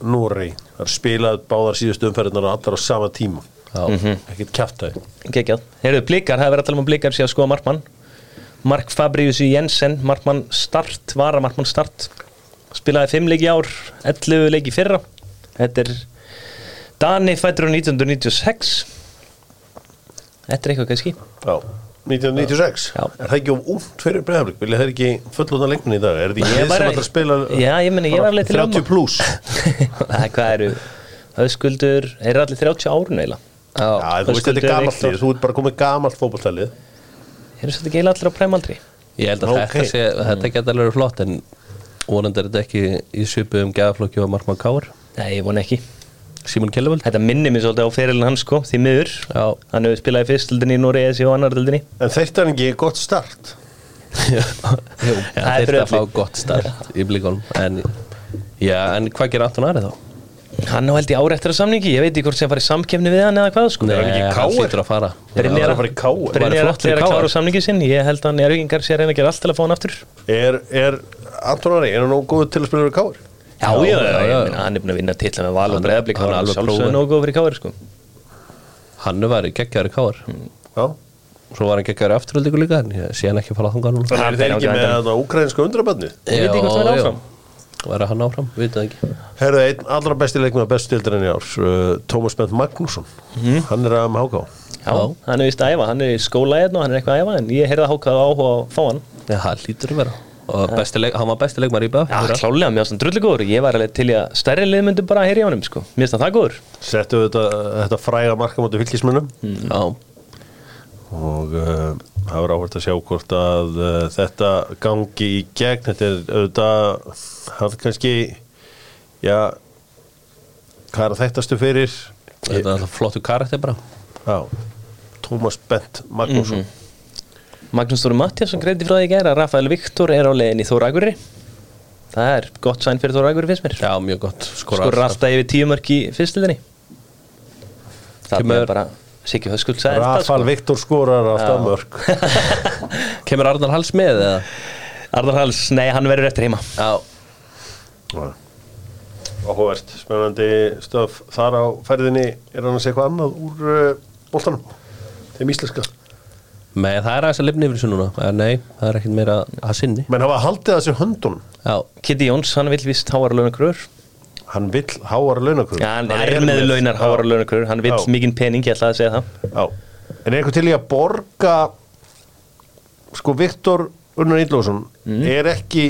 Speaker 1: Núri þar spilaði báðar síðustu umferðinar allar á sama tíma
Speaker 2: já
Speaker 3: Mm.
Speaker 1: ekkert kjaftaði
Speaker 3: Gekjað. Heyrðu, blikar, það er verið að tala um að blikar sé að skoða markmann. Mark Fabrius Jensen, markmann start, vara markmann start. Spilaði 5 leiki í ár, 11 leiki í fyrra. Þetta er Dani fættur á 1996. Þetta er eitthvað kannski.
Speaker 1: Já 1996,
Speaker 3: Já.
Speaker 1: er það ekki of únt fyrir breyðaflik, vilja þeir ekki fullóta leikmenn í dag, er þetta
Speaker 3: Ég
Speaker 1: ekki lið sem
Speaker 3: bara-
Speaker 1: ætlar að spila
Speaker 3: Já, ég meina, ég var alveg til
Speaker 1: 30
Speaker 3: áma.
Speaker 1: pluss
Speaker 3: Nei, Hvað eru? Öskuldur, eru allir 30 árun eiginlega?
Speaker 1: Já,
Speaker 2: já.
Speaker 1: en þú veist þetta
Speaker 3: Höskuldur
Speaker 1: er gamalt
Speaker 3: Viktor.
Speaker 1: lið, þú ert bara komið gamalt fótballtalið
Speaker 3: Eru þetta ekki eiginlega allir á præmaldri?
Speaker 2: Ég held að
Speaker 1: Ok.
Speaker 2: þetta sé, þetta geta alveg verið flott en vonandi er þetta ekki í svipu um gæðaflokki og Markmann Kár
Speaker 3: Nei, ég vona ekki.
Speaker 2: Simon Kjellvöld
Speaker 3: Þetta minnir mér svolítið á fyrirlin hans sko, því miður.
Speaker 2: Já,
Speaker 3: Hann hefur spilaði fyrstöldinni í Núriðis og annaröldinni.
Speaker 1: En þetta er ekki gott start
Speaker 2: já
Speaker 3: það er
Speaker 2: þeir
Speaker 3: fyrir
Speaker 2: þetta fá
Speaker 3: öllu.
Speaker 2: gott start í blikunum en, Já, en hvað gerir Anton Ari þá?
Speaker 3: Hann á held í áreittra samningi, ég veit ekki hvort sem farið samkefni við hann eða hvað sko
Speaker 2: Nei,
Speaker 1: ekki í
Speaker 2: hann
Speaker 1: KR?
Speaker 2: hlýtur að fara
Speaker 1: Brynjar-
Speaker 3: Brynjar
Speaker 1: að fara í KR.
Speaker 2: Væri flott
Speaker 3: Brynjar allir að
Speaker 2: fyrir
Speaker 3: klára
Speaker 2: KR.
Speaker 3: samningi sinn Ég held að Njárvíkingar sé að reyna að gera allt til að fá hann aftur Já,
Speaker 1: Er, er Anton Ari, er hann nóg góð til að spila fyrir káur?
Speaker 3: já,
Speaker 2: já,
Speaker 3: já, ég
Speaker 2: já.
Speaker 3: meina, hann er búin að vinna til með val og
Speaker 2: Hann-
Speaker 3: breðablík
Speaker 2: hann
Speaker 3: Hann
Speaker 2: er
Speaker 3: er
Speaker 2: alveg
Speaker 3: alveg sjálfsögðu
Speaker 2: prófur.
Speaker 3: nógu góð fyrir káður sko
Speaker 2: Hannu var geggjaður í Kár
Speaker 3: Mm.
Speaker 1: Já
Speaker 2: Svo var hann geggjaður í afturöldingu líka en ég sé hann ekki fara þangað núna
Speaker 1: Þannig
Speaker 3: Hann
Speaker 1: er þeir
Speaker 3: fer á
Speaker 1: ekki með
Speaker 3: grandann.
Speaker 1: þetta ukrainska undrabanni
Speaker 3: Ég veit ekki hvort hann er áfram.
Speaker 2: Verða hann áfram, við það ekki
Speaker 1: Herðu, einn allra besti leikmenn að bestu dildarinn í ár uh, Tómas Bent Magnússon
Speaker 3: Mhm.
Speaker 1: Hann er að með háká
Speaker 3: Já, hann er vist að æfa, hann er í skóla einn og hann er eitthvað að æfa En ég heyrði að hákaða áhuga á að fá hann
Speaker 2: Já, það hlýtur að vera Og besti leik, hann var besti leikmar í BF
Speaker 3: Já, klálega, mér finnst hann drullu góður Ég var alveg til í að stærri lið myndu bara að heyri á honum sko Mér finnst hann það góður
Speaker 1: Settu þetta, þetta fræga markamóti fylgismunum
Speaker 2: Já,
Speaker 1: og uh, það verður áhvert að sjá hvort að uh, þetta gangi í gegn þetta er auðvitað það er kannski já, hvað er að þættastu fyrir
Speaker 2: þetta er alltaf flottu karakter bara
Speaker 1: já, Tómas Bent Magnússon
Speaker 3: Mhm. Magnús Þóru Mattiasson greindi frá því í gæra Rafael Viktor er á leiðin í Þóragurri Það er gott sæn fyrir Þóragurri finnst mér
Speaker 2: Já, mjög gott Skora
Speaker 3: skorur alltaf yfir tíu mörg í fyrstildinni það
Speaker 2: Kemur-
Speaker 3: er bara Siggi Höskuld sagði þetta, sko.
Speaker 1: Rafal Viktor skorar alltaf mörg
Speaker 2: Kemur Arnar Hals með eða?
Speaker 3: sko. Arnar Hals, nei hann verður eftir heima
Speaker 2: Já,
Speaker 1: áhugavert, spennandi stöf þar á ferðinni er hann að segja eitthvað annað úr uh, boltanum eh, þeim íslenska
Speaker 2: Nei, það er aðeins að lifna yfir þessu núna Eh, Nei, það er ekkert meira að sinni
Speaker 1: menn hafa haldið að sér höndunum
Speaker 2: Já,
Speaker 3: Kitty Jóns, hann vil vist háara launakröður
Speaker 1: hann vill háar launakröður
Speaker 3: Já, hann er með launar háara launakröður Hann vil
Speaker 1: Já.
Speaker 3: mikinn pening, ég ætlaði að segja það
Speaker 1: Já. En er eitthvað til í að borga sko Viktor Unnar Ídlóðsson er ekki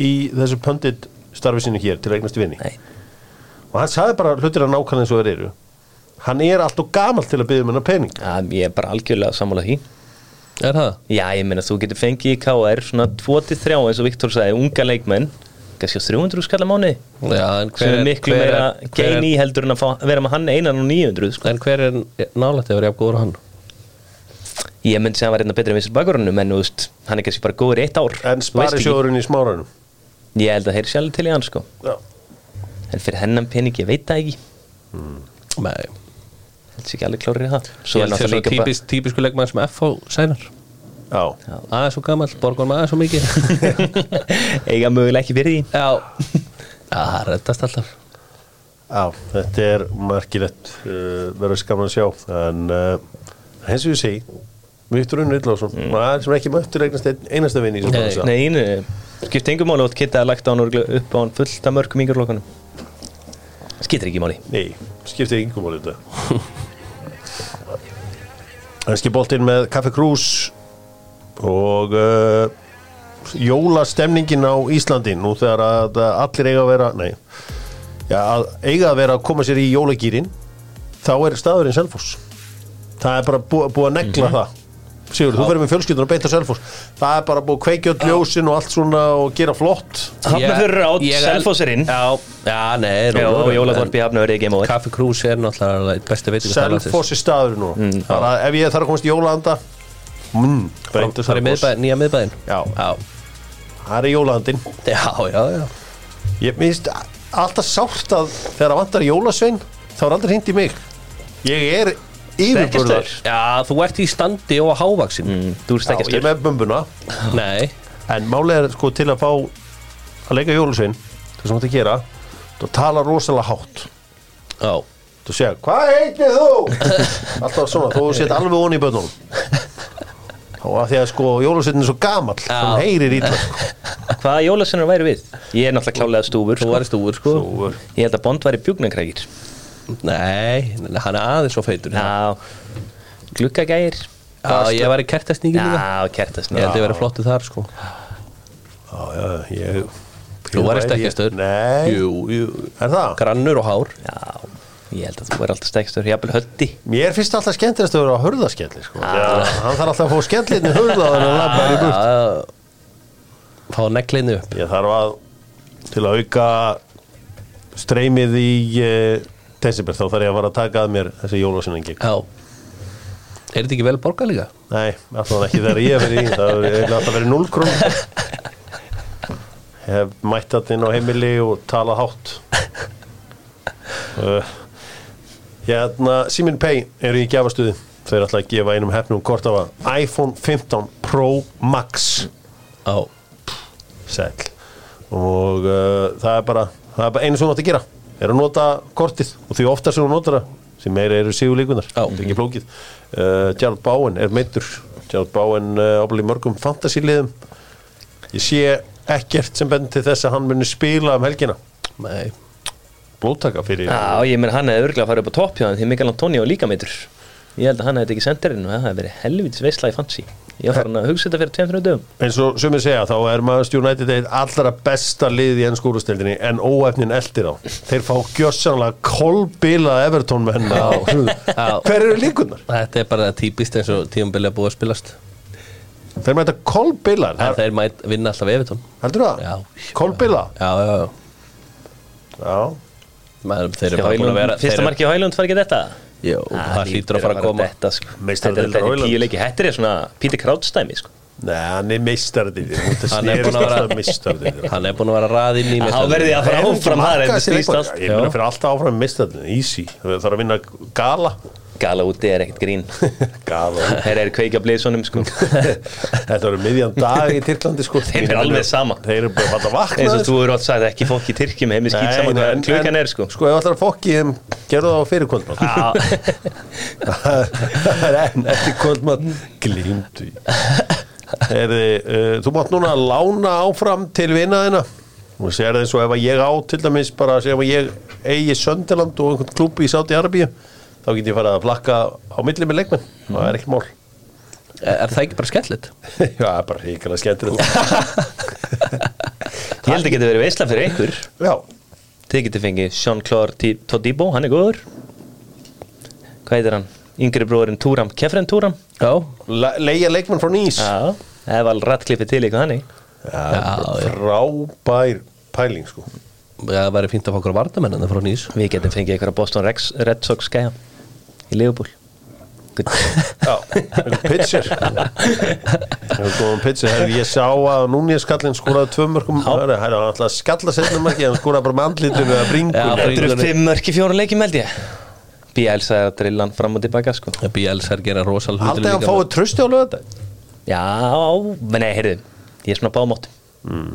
Speaker 1: í þessu pöndit starfi sinni hér til að eignast vinni
Speaker 3: Nei.
Speaker 1: og hann sagði bara hlutir að nákvæmlega eins og þeir eru hann er alltaf gamall til að byggja um hennar pening
Speaker 3: Já, ég er bara algjörlega sammála því
Speaker 2: er það?
Speaker 3: Já, ég meina þú getur fengið í KR svona 2-3 eins og Viktor sagði, unga leikmenn kannski á 300 skalla mánu
Speaker 2: Já, en
Speaker 3: Mm. sem
Speaker 2: hver
Speaker 3: er
Speaker 2: er
Speaker 3: miklu
Speaker 2: hver
Speaker 3: meira
Speaker 2: er- hver
Speaker 3: gein í heldur en að fá, vera með hann einan og 900 sko.
Speaker 2: er- En hver er nálætti að vera jafn góður á hann?
Speaker 3: Ég myndi segja að hann var einna betri en vissir bakurunum en þú veist, hann er kannski bara góður í eitt ár
Speaker 1: en
Speaker 3: Þú veist
Speaker 1: spari
Speaker 3: ekki.
Speaker 1: sjóðurinn í smáranum
Speaker 3: Ég held að þeir sjálf til í hann sko
Speaker 1: Já.
Speaker 3: en fyrir hennan pening ég veit það ekki
Speaker 2: Nei,
Speaker 3: Þetta er ekki alveg klárið í það
Speaker 2: svo
Speaker 3: Svo
Speaker 2: er
Speaker 3: er
Speaker 2: þetta
Speaker 3: náttúrulega líka
Speaker 2: típisk, típisku leikmann sem FH sænar
Speaker 1: Já.
Speaker 2: Aðeins svo gamall, borgar maður aðeins svo mikið
Speaker 3: bara eiga mögulega ekki fyrir því
Speaker 2: Já, Já, það reddast alltaf
Speaker 1: Já, þetta er margilegt uh, verður skaman að sjá en uh, eins og ég segi Viktor Unnar Ídlóðsson maður sem er ekki mættur eignast einn- einasta vinni
Speaker 2: Nei,
Speaker 3: Nei, einu, skipt engum máli og kitta að lagt á hann örugglega upp á hann fullt af mörgum yngjörlokunum Skiptir ekki máli
Speaker 1: Nei, skiptið yngum á þetta Ennski boltinn með Kaffi Krús og uh, jólastemningin á Íslandi nú þegar að að allir eiga að vera nei, já, að eiga að vera að koma sér í jólagýrin þá er staðurinn Selfoss það er bara bú, búið að negla það Sigur, þú verður með fjölskyldun og beita Selfoss það er bara búið að kveikja öll ljósin og allt svona og gera flott
Speaker 3: Hafnarfjörður át,
Speaker 2: Ég- ég-
Speaker 3: Selfoss er inn.
Speaker 2: Já, já, nei
Speaker 3: Já,
Speaker 2: rólegur.
Speaker 3: Jólaþorp í Hafnarfjörði er game over
Speaker 2: Kaffi Krús er náttúrulega eitt besti veitingastæðar
Speaker 1: Selfoss er staður nú Bara, ef ég þarf að komast í jólanda mm,
Speaker 2: Það
Speaker 1: breyttu
Speaker 2: er
Speaker 1: Selfoss.
Speaker 2: miðbæ, nýja miðbæðin
Speaker 1: Já.
Speaker 2: já,
Speaker 1: það er jólandin
Speaker 2: já, já, já.
Speaker 1: ég minnst alltaf sárt að þegar að vantar jólasvein þá er aldrei hindi mig ég er yfirburðar
Speaker 3: Stekkjastaur.
Speaker 2: já þú ert í standi og hávaksin mm.
Speaker 3: Þú ert
Speaker 1: Já,
Speaker 3: ekki að
Speaker 1: ég er með bumbuna
Speaker 3: Mm.
Speaker 2: Nei,
Speaker 1: en málega er sko til að fá að leika jólasvein það sem þetta gera þú tala rosalega hátt
Speaker 2: já
Speaker 1: þú segja, hvað heitir þú? alltaf svona, þú set alveg onni í bönnum og að því að sko jólasveitin er svo gamall, hann heyrir ítla sko.
Speaker 3: Hvaða jólasennar væri við? Ég er náttúrulega klálega stúfur
Speaker 2: þú
Speaker 3: sko.
Speaker 2: væri stúfur sko
Speaker 1: Þú er-
Speaker 3: Ég held að Bond væri bjúgnakrækir
Speaker 2: Nei, hann er aðeins svo feitur
Speaker 3: Já, glukkagægir
Speaker 2: já ég væri kertasnýgin líka
Speaker 3: Já, kertast
Speaker 2: Ég held ég væri flottu þar sko
Speaker 1: Já, já, ég...
Speaker 2: Þú væri stekkjastur
Speaker 1: Nei,
Speaker 2: Jú, jú
Speaker 1: er það?
Speaker 2: Grannur og hár
Speaker 3: Já, ég held að þú væri alltaf stekstur Jafnvel höddi
Speaker 1: Mér finnst alltaf skemmtilegast að vera á hurðaskelli, sko. Já, hann þarf alltaf að fá skellinni hurða þannig að labba hann í burt.
Speaker 2: Já, Fá neglinu upp
Speaker 1: Ég þarf að, til að auka streymið í eh, desember, þá þarf ég að fara að taka að mér þessi jólásinnengi.
Speaker 2: Já Er þetta ekki vel borgað líka?
Speaker 1: Nei, alltaf ekki þegar ég verið í, það er eiginlega alltaf verið 0 krónum. Ég hef mætt þetta inn á heimili og talað hátt. Uh, hérna, Simin Pay eru í gjafastuði. Þau eru alltaf að gefa einum hefnum kort af að iPhone 15 Pro Max
Speaker 2: Já
Speaker 1: sæl. Og uh, það, er bara, það er bara einu sem þú átt að gera. Er að nota kortið og því oftar sem þú notar það sem meira eru síðu líkunar.
Speaker 2: Já.
Speaker 1: Það er ekki flókið. Uh, Gerald Bowen er meittur. Gerald Bowen uh, ábúið í mörgum fantasíliðum. Ég sé ekkert sem bendir til þess að hann muni spila um helgina.
Speaker 2: Nei
Speaker 1: Blóttaka fyrir...
Speaker 3: Já, ég menn hann hefði örgulega farið upp á topp hjá hann Því Mikael Antonio er líka meitur Ég held að hann hefði ekki sendirinn og það hefði verið helvitis veisla í fancy Ég var hann að hugsa þetta fyrir tveim þrjum dögum
Speaker 1: eins og sumir segja þá er Manchester United eitt allra besta lið í ennsku úrstildinni en óefnin eldir á þeir fá gjössanlega kolbila Everton menn á
Speaker 2: Já.
Speaker 1: hver eru líkunar?
Speaker 2: Þetta er bara típist eins og tíumbilið að búið að spilast
Speaker 1: þeir mæta kolbila
Speaker 2: En þeir mætt vinna alltaf Evertón
Speaker 1: heldur það?
Speaker 2: Já.
Speaker 1: kolbila?
Speaker 2: Já, já, já
Speaker 1: Já.
Speaker 2: Maður, Þeir eru bara búin að
Speaker 3: Hælund,
Speaker 2: vera
Speaker 3: Fyrsta Ah,
Speaker 2: þeir-
Speaker 3: marki á Hælund fari ekki þetta
Speaker 2: Jú, það hlýtur að fara að koma
Speaker 3: Þetta sko.
Speaker 1: Meistari
Speaker 3: Þetta er-
Speaker 1: deildar
Speaker 3: þetta er
Speaker 1: Hoyland.
Speaker 3: tíu leiki, þetta er svona Peter Krautstæmi sko.
Speaker 1: Nei, hann er meistardið
Speaker 2: Hann er búinn að vera-
Speaker 1: meistardið
Speaker 2: Hann er búin að vera að ræða inn í
Speaker 3: Þá verði ég að fara áfram það er einnig snýst allt
Speaker 1: Ég meina fyrir alltaf áfram meistardið easy, það þarf að vinna gala
Speaker 3: Gala úti er ekkert grín
Speaker 1: Gala
Speaker 3: Þeir eru kveikja blíðsonum sko
Speaker 1: Þetta var miðjan dag í Tyrklandi sko
Speaker 3: Þeim er alveg sama.
Speaker 1: Þeir eru bara að fatta vakna
Speaker 3: eins og þú eru átt sagt ekki fólk í Tyrkjum heim í skýt saman hvað klukkan er sko
Speaker 1: Sko ef allar fokki þeim gerðu það á fyrir kvöldmann
Speaker 3: Já,
Speaker 1: Það er enn eftir kvöldmann Glimtu Herði, uh, þú mátt núna lána áfram til vinaðina og sér það eins og ef að ég á til dæmis bara sér ef að ég eigi Söndaland og einhvern klúb í Sáti Arabíu þá get ég farið að flakka á milli með leikmenn það er ekkert mál
Speaker 2: Er það ekki bara skemmtilegt?
Speaker 1: Já, það er bara ríkilega skemmtilegt
Speaker 3: ég held að geti verið veisla fyrir einhver
Speaker 1: Já,
Speaker 3: Þið geti fengið Jean-Claude Todibo, hann er góður Hvað heitir hann? Yngri bróðurinn Túram, Kefren Túram
Speaker 2: Já,
Speaker 1: le leigja leikmenn frá nýs
Speaker 3: Já, Eval Ratkliffi til eitthvað hann
Speaker 1: Já, frábær pæling sko
Speaker 2: það væri fínt að fá okkur að varna menna frá nýs
Speaker 3: Við getum fengið eitthvað Boston Rex, Red Sox skæja í Leopold
Speaker 1: Já, einhver pitcher einhver góðan pitcher Herri, ég sá að Núnes kallinn skóraði tvö mörgum Herri, hann ætlaði að skalla setna marki hann skóraði bara með andlitinu eða
Speaker 2: Já,
Speaker 1: bringun
Speaker 3: Þetta eru
Speaker 2: Bringunni.
Speaker 3: fimm mörki fjóra leikjum held ég BL sagði að drilla hann fram og tilbaka sko
Speaker 2: BLs er gera rosal
Speaker 1: Haldið að hann fáið trösti á lögða
Speaker 3: Já, menn nei, heyrðu Ég er svona bámátt Mm.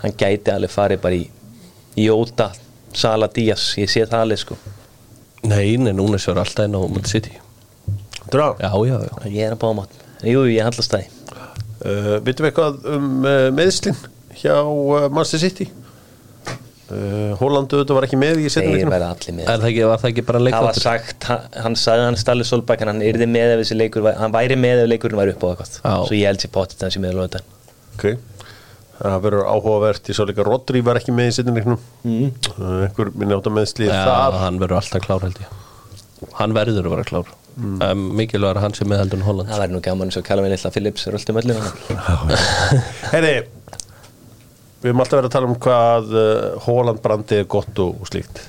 Speaker 3: Hann gæti alveg farið bara í Jóta, Sala Díaz Ég sé það alveg sko
Speaker 2: Nei, nei, Núnes er alltaf inn á Man City
Speaker 1: Drá,
Speaker 2: Já, já, já
Speaker 3: Ég er að bámátt Jú, jú, ég handlast það
Speaker 1: uh, vitum við eitthvað um uh, meðslinn hjá uh, Manchester City uh, Hólandu þetta var ekki með í setna
Speaker 3: Þeir
Speaker 1: leikinu
Speaker 3: verða allir með
Speaker 2: Er það ekki, var það ekki bara
Speaker 3: Það var
Speaker 2: leikváttur?
Speaker 3: sagt, hann- hann sagði hann Stalli Solbæk en hann yrði með ef þessi leikur væri- hann væri með ef leikurinn væri upp á eitthvað
Speaker 2: Já.
Speaker 3: svo ég held sér potið þessi með lögðan
Speaker 1: Ok Það verður áhugavert, ég sá líka Rodri var ekki með í setna leikinu uh, einhver minni átta meðsli
Speaker 2: Já,
Speaker 1: þar
Speaker 2: hann verður alltaf klár held ég Hann verður að vera klár mm. um, Mikilvægur að hann sem meðheldun Holland
Speaker 3: Það væri nú gaman svo kalla mig lilla Phillips um röltum öllum hann
Speaker 1: Herri, við höfum alltaf verið að tala um hvað uh, Holland brandi er gott og, og slíkt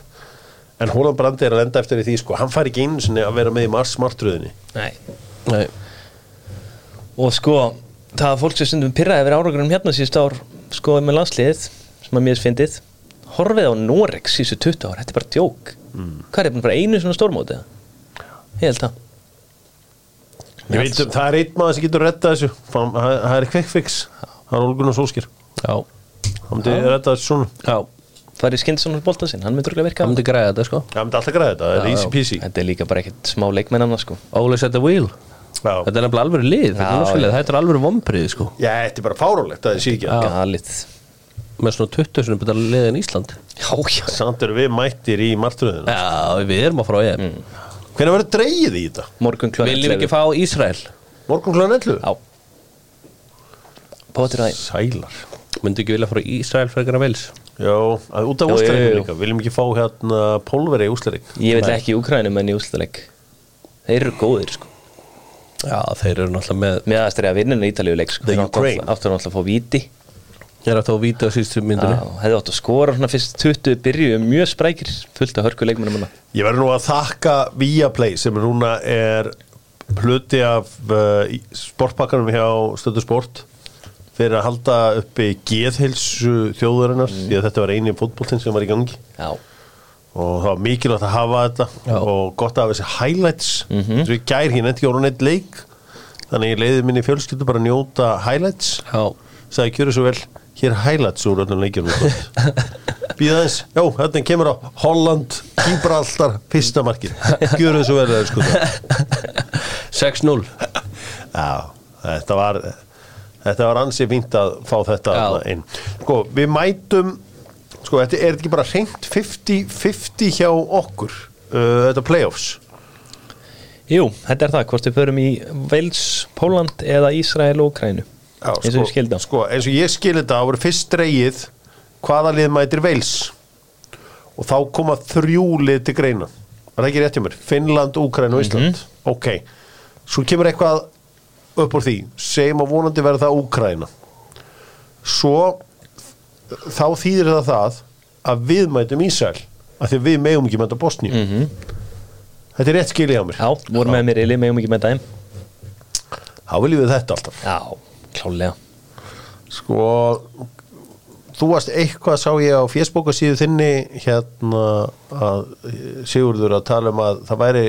Speaker 1: en Holland brandi er að lenda eftir í því sko, hann fær ekki einu sinni að vera með í mars martröðinni
Speaker 3: Nei.
Speaker 2: Nei,
Speaker 3: Og sko, það að fólk sem stundum pyrraði yfir áragrunum hérna síðust ár sko með landsliðið, sem að mér er fyndið horfið á Noreg síðustu 20 ár þetta er bara djók
Speaker 1: Mm.
Speaker 3: Hvað er þetta bara einu svona stórmótið? Ég held það
Speaker 1: Ég veit um, það er einn maður sem getur rettað þessu Fan- það það er quick fix það er Olgun og Solskjær
Speaker 2: já,
Speaker 1: hann myndi rettað þessu svona
Speaker 2: já
Speaker 3: Það er Skindssonar bolta sinn, hann myndi örgulega virka
Speaker 2: Hann myndi græða þetta sko
Speaker 1: hann myndi alltaf græða þetta, það er
Speaker 2: Já,
Speaker 1: easy peasy
Speaker 3: Þetta er líka bara ekkert smá leikmennanna sko
Speaker 2: Óli set the wheel
Speaker 1: já,
Speaker 2: Þetta er nefnilega alveg lið Þetta
Speaker 3: Já,
Speaker 2: er náttúrulega, þetta er alveg vombrið sko
Speaker 1: Já, þetta er bara fárálegt það er síkja
Speaker 2: Já.
Speaker 3: Galið
Speaker 2: Með svona 20 sem betur lið en Ísland
Speaker 3: Já, já
Speaker 1: samt eru við mættir í martröðina
Speaker 2: Já, við erum að frá ég
Speaker 1: hvernig verður dreigið í þetta?
Speaker 3: Morgun klokkan
Speaker 2: Viljum við ekki fá Ísrael
Speaker 1: morgun klán 11?
Speaker 3: Já Pótur aðeins
Speaker 1: sælar
Speaker 2: Myndi ekki vilja frá Ísrael frekar að vils
Speaker 1: Já, að út af
Speaker 3: Já, já, já.
Speaker 1: úsleirinu líka, viljum ekki fá hérna pólveri í úsleirinu.
Speaker 3: Ég vil ekki Úkrænum en í úrslutaleg Þeir eru góðir sko
Speaker 2: Já, þeir eru náttúrulega með
Speaker 3: Með aðstæri að vinninu ítalíuleik sko
Speaker 1: The
Speaker 3: Þeir áttu að-
Speaker 1: Ukraine.
Speaker 3: Áttu náttúrulega að fá víti
Speaker 2: Ég er að þá að víta á sístu myndinu
Speaker 3: Já, Hefði átt að skora svona fyrst 20 byrju Mjög sprækir fullt af hörku leikmennum hana
Speaker 1: Ég verður nú að þakka Viaplay sem núna er hluti af uh, í- sportpakkanum hjá Stöðu Sport fyrir að halda uppi geðheilsu þjóðurinnar því að þetta var eini fótboltinn sem var í gangi
Speaker 3: Já
Speaker 1: og það var mikilvægt að hafa þetta
Speaker 2: Já. Mhm.
Speaker 1: og gott að hafa þessi highlights mm -hmm. svo ég gær hérna ekki orðan eitt leik þannig ég leiði minni fjölskyldu bara að njóta highlights
Speaker 2: Já,
Speaker 1: sagði kjöru svo vel hér er highlights úr öllum leikjum býða eins, já, þetta hérna kemur á Holland, Gibraltar, fyrsta markið kjöru svo vel sko.
Speaker 2: 6-0
Speaker 1: já, þetta var þetta var ansi fínt að fá þetta
Speaker 2: Já.
Speaker 1: þarna inn sko, við mætum sko, þetta er þetta ekki bara hreint 50-50 hjá okkur uh, þetta playoffs
Speaker 3: Jú, þetta er það, hvort við förum í Vels, Póland eða Ísrael og Úkrænu
Speaker 1: já,
Speaker 3: Eins og við skildi á
Speaker 1: sko, eins og ég skildi þetta, það voru fyrst dreigið hvaða lið mætir Wales og þá koma þrjú lið til greina, var það ekki rétt hjá mér Finnland, Úkraine og Ísland
Speaker 3: Mhm.
Speaker 1: ok, svo kemur eitthvað upp úr því, segjum að vonandi verða það Úkraina svo þá þýðir það það að við mætum Ísrael af því að við megum ekki mæta Bosníu þetta er rétt skilið hjá mér
Speaker 3: Mhm. Já, vorum með mér Eli, megum ekki með dæm
Speaker 1: þá viljum við þetta alltaf
Speaker 3: Já, klálega
Speaker 1: Sko Þú varst eitthvað sá ég á Facebook eh, og síðu þinni hérna að Sigurður að tala um að það væri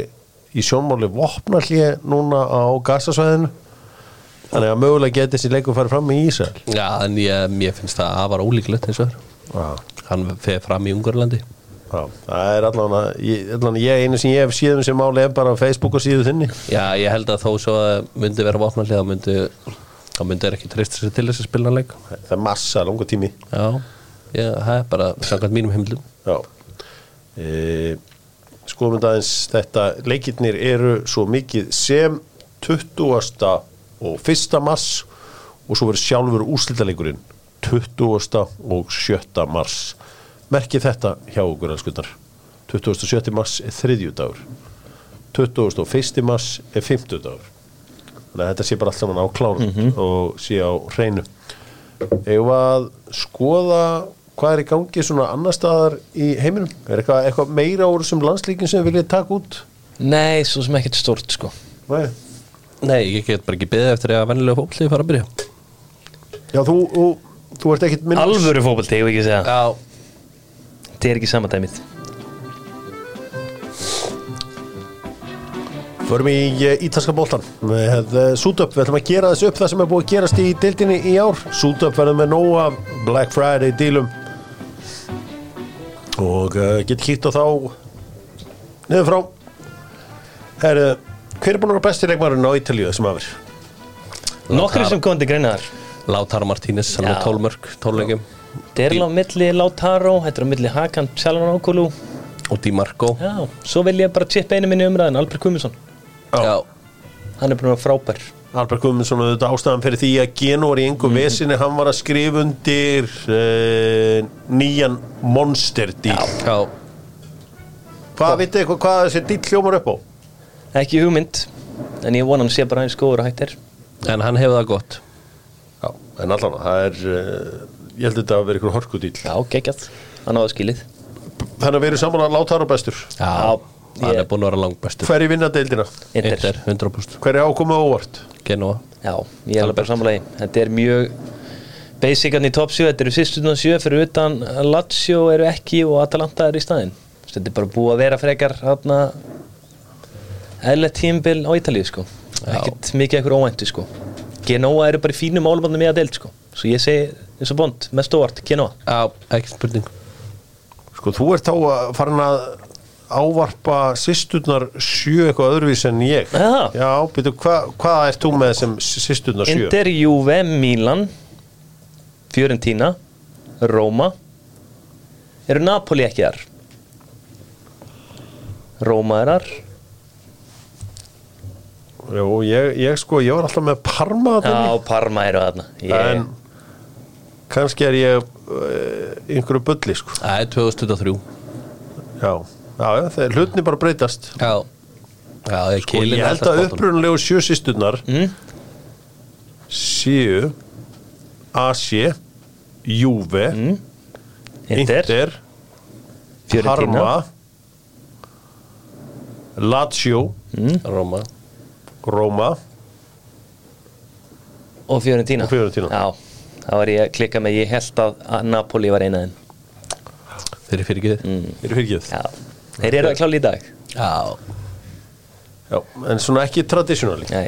Speaker 1: í sjónmáli vopnallið núna á gasasvæðinu þannig að mögulega geti þessi leikur farið fram í Ísrael
Speaker 2: Já, en ég, ég finnst það afar ólíklegt eins og er
Speaker 1: Já,
Speaker 2: Hann fer fram í Ungarlandi
Speaker 1: já, það er allan að ég, allan að ég einu sem ég hef síðum sem máli er bara á Facebook og síðu þinni
Speaker 2: Já, ég held að þó svo að myndi vera vopnallið þá myndi, þá myndi er ekki treysta sér til þess að spila hann leik
Speaker 1: það er massa langur tími
Speaker 2: Já, ég, það er bara samkvæmt mínum heimlum
Speaker 1: Já e, Skoðum þetta aðeins þetta leikirnir eru svo mikið sem 20. og 1. mars og svo verður sjálfur úrslitaleikurinn 20. og 7. mars Merkið þetta hjá okkur elskundar 27. mars er þriðjudagur 21. mars er fimmtudagur Þannig að þetta sé bara allt saman á klárum og sé á hreinu Eigum við að skoða hvað er í gangi svona annar staðar í heiminum? Er eitthvað, eitthvað meira úr sem landslíkin sem við viljið taka út?
Speaker 3: Nei, svo sem ekkert stort sko
Speaker 1: Nei.
Speaker 2: Nei, ég get bara ekki beðið eftir að vennilega fólklið fara að byrja
Speaker 1: Já, þú, þú, þú ert ekkit minn
Speaker 3: Alvöru fótbolti, ég vil ekki segja
Speaker 2: Já,
Speaker 3: Þetta er ekki samandæmið
Speaker 1: Förum í ítalska bóltan með Sútöp, við ætlum að gera þessu upp það sem er búið að gerast í deildinni í ár Sútöp verður með nóg af Black Friday dílum og uh, get kýtt á þá niður frá Herru, hver er búin að vera besti leikmarinn á Ítalíu þessum afir?
Speaker 3: Nokkri sem komandi greinaðar
Speaker 2: Látar Martínez, hann
Speaker 3: Já.
Speaker 2: er tólmörk, tóllegjum
Speaker 3: Þetta er alveg á milli Lautaro, þetta er á milli Hakan Tjalanokulu
Speaker 2: og Di Marco
Speaker 3: Já, svo vil ég bara chippa einu minni í umræðin, Albert Kuminsson
Speaker 1: Já.
Speaker 2: Já,
Speaker 3: Hann er búin að vera frábær
Speaker 1: Albert Guðmundsson auðvitað ástæðan fyrir því að Geno var í engu mm. vesinni, hann var að skrifa undir uh, nýjan monster díl
Speaker 2: já,
Speaker 1: Hvað vitið eitthvað hvað þessi díl hljómar upp á?
Speaker 3: Ekki hugmynd, en ég vona hann sé bara eins góður og hægt er
Speaker 2: en hann hefur það gott
Speaker 1: Já, en allan, það er uh, ég held þetta að vera ykkur horku díl
Speaker 3: Já, geggjað, hann áða skilið
Speaker 1: Þannig að við erum saman að láta þar á bestur
Speaker 3: Já,
Speaker 2: Hann
Speaker 3: ég-
Speaker 2: er búin að vera langbestur
Speaker 1: Hver í vinna deildina?
Speaker 3: Inter
Speaker 2: Inter, 100%
Speaker 1: Hver er ákomið á óvart?
Speaker 2: Genoa
Speaker 3: Já, ég er alveg bara samlega Þetta er mjög basican í top 7 Þetta eru sýstundan 7 fyrir utan Lazio eru ekki og Atalanta eru í staðinn Þú veist, Þetta er bara búið að vera frekar hana, eðlega tímbil á Ítalíu sko. ekkert mikið ekkur óvæntu sko. Genoa eru bara í fínum álumannum í að deild sko. svo ég segi eins og bond mest óvart, Genoa
Speaker 2: Já, ekki spurning
Speaker 1: Sko, þú ert þá að farin að ávarpa sýsturnar sjö eitthvað öðruvís en ég
Speaker 3: Já.
Speaker 1: Já, býtu, hva, hvað ert þú með sem sýsturnar sjö?
Speaker 3: Inter, Juve, Milan Fiorentina Róma eru Napoli ekki þar Róma er þar
Speaker 1: Jú, ég, ég sko, ég var alltaf með Parma
Speaker 3: Já,
Speaker 1: þarna.
Speaker 3: Parma eru þarna
Speaker 1: en
Speaker 3: ég,
Speaker 1: kannski er ég uh, einhverju bulli sko.
Speaker 2: Það er 2023
Speaker 1: já, já, já þeir hlutni bara breytast
Speaker 2: Já, já, ég
Speaker 1: og ég held að upprunalegu sjösýsturnar
Speaker 3: Mm.
Speaker 1: séu Asi Júve,
Speaker 3: Mm. Inter,
Speaker 1: Inter
Speaker 3: Fiorentina
Speaker 1: Parma Lazio
Speaker 3: Mm.
Speaker 2: Róma
Speaker 1: Roma
Speaker 3: og Fiorentina
Speaker 1: Og Fiorentina.
Speaker 3: Já, það var ég að klikka með Ég held að að Napoli var eina þeim
Speaker 2: Þeir eru fyrir ekki
Speaker 3: Mm.
Speaker 2: þið
Speaker 1: eru fyrkið
Speaker 3: Já, þeir eru að klála í dag
Speaker 2: Já,
Speaker 1: já, en svona ekki tradisjonali
Speaker 3: Nei,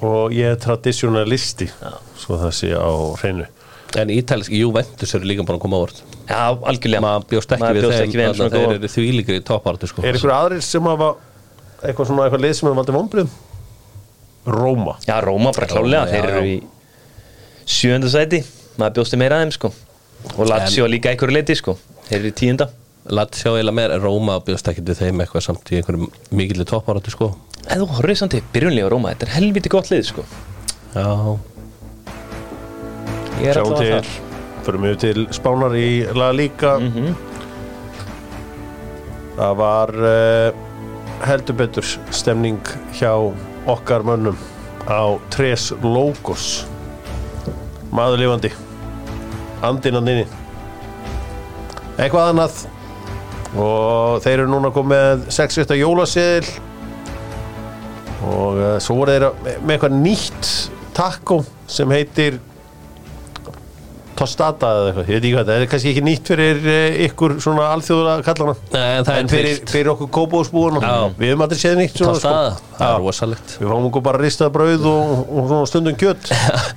Speaker 1: og ég er tradisjonalisti
Speaker 3: Já.
Speaker 1: svo það sé á hreinu
Speaker 2: en ítalski Juventus eru líka bara að koma á vort
Speaker 3: já, algjörlega
Speaker 2: Maður bjóst ekki
Speaker 3: Maður
Speaker 2: við
Speaker 3: bjóst
Speaker 2: þeim
Speaker 3: ekki við þeim
Speaker 2: þannig að
Speaker 3: svona
Speaker 2: Þeir
Speaker 3: góðan.
Speaker 2: eru því líka í topartu sko
Speaker 1: Er ykkur aðrir sem hafa eitthvað svona eitthvað lið sem hafa valdið vonbröðum? Róma
Speaker 3: Já, Róma bara klálega,
Speaker 2: Róma,
Speaker 3: þeir
Speaker 2: já,
Speaker 3: eru
Speaker 2: já.
Speaker 3: í sjönda sæti Maður bjósti meira að þeim sko Og Lazio líka einhverju leiti sko Þeir eru í tíunda
Speaker 2: Latsjá eiginlega meir en Róma bjóst ekki við þeim eitthvað samt í einhverjum mikill topartu sko
Speaker 3: En þú horfður samt til byrjunlega á Róma Þetta er helviti gott lið sko
Speaker 2: Já,
Speaker 3: Ég er
Speaker 1: Sjáum
Speaker 3: allavega
Speaker 1: til, förum við til Spánar í La Liga
Speaker 3: Mhm.
Speaker 1: Það var uh, heldur betur stemning hjá okkar mönnum á Tres Logos Maður lifandi Andinn að nynni Eitthvað annað og þeir eru núna komið með 6-7 jólaseðil og uh, svo voru þeir að- með eitthvað nýtt takko sem heitir Postata eða eitthvað, ég veit ekki hvað þetta er kannski ekki nýtt fyrir eh, ykkur svona alþjóðula kallana
Speaker 2: Nei, en það er
Speaker 1: fyrir,
Speaker 2: tryggt.
Speaker 1: fyrir okkur kópóðsbúðuna
Speaker 2: Já.
Speaker 1: við höfum aldrei séð nýtt svona
Speaker 2: Pasta, það er
Speaker 1: Já.
Speaker 2: rosalegt
Speaker 1: við fáum okkur bara ristað brauð og, og svona stundum kjött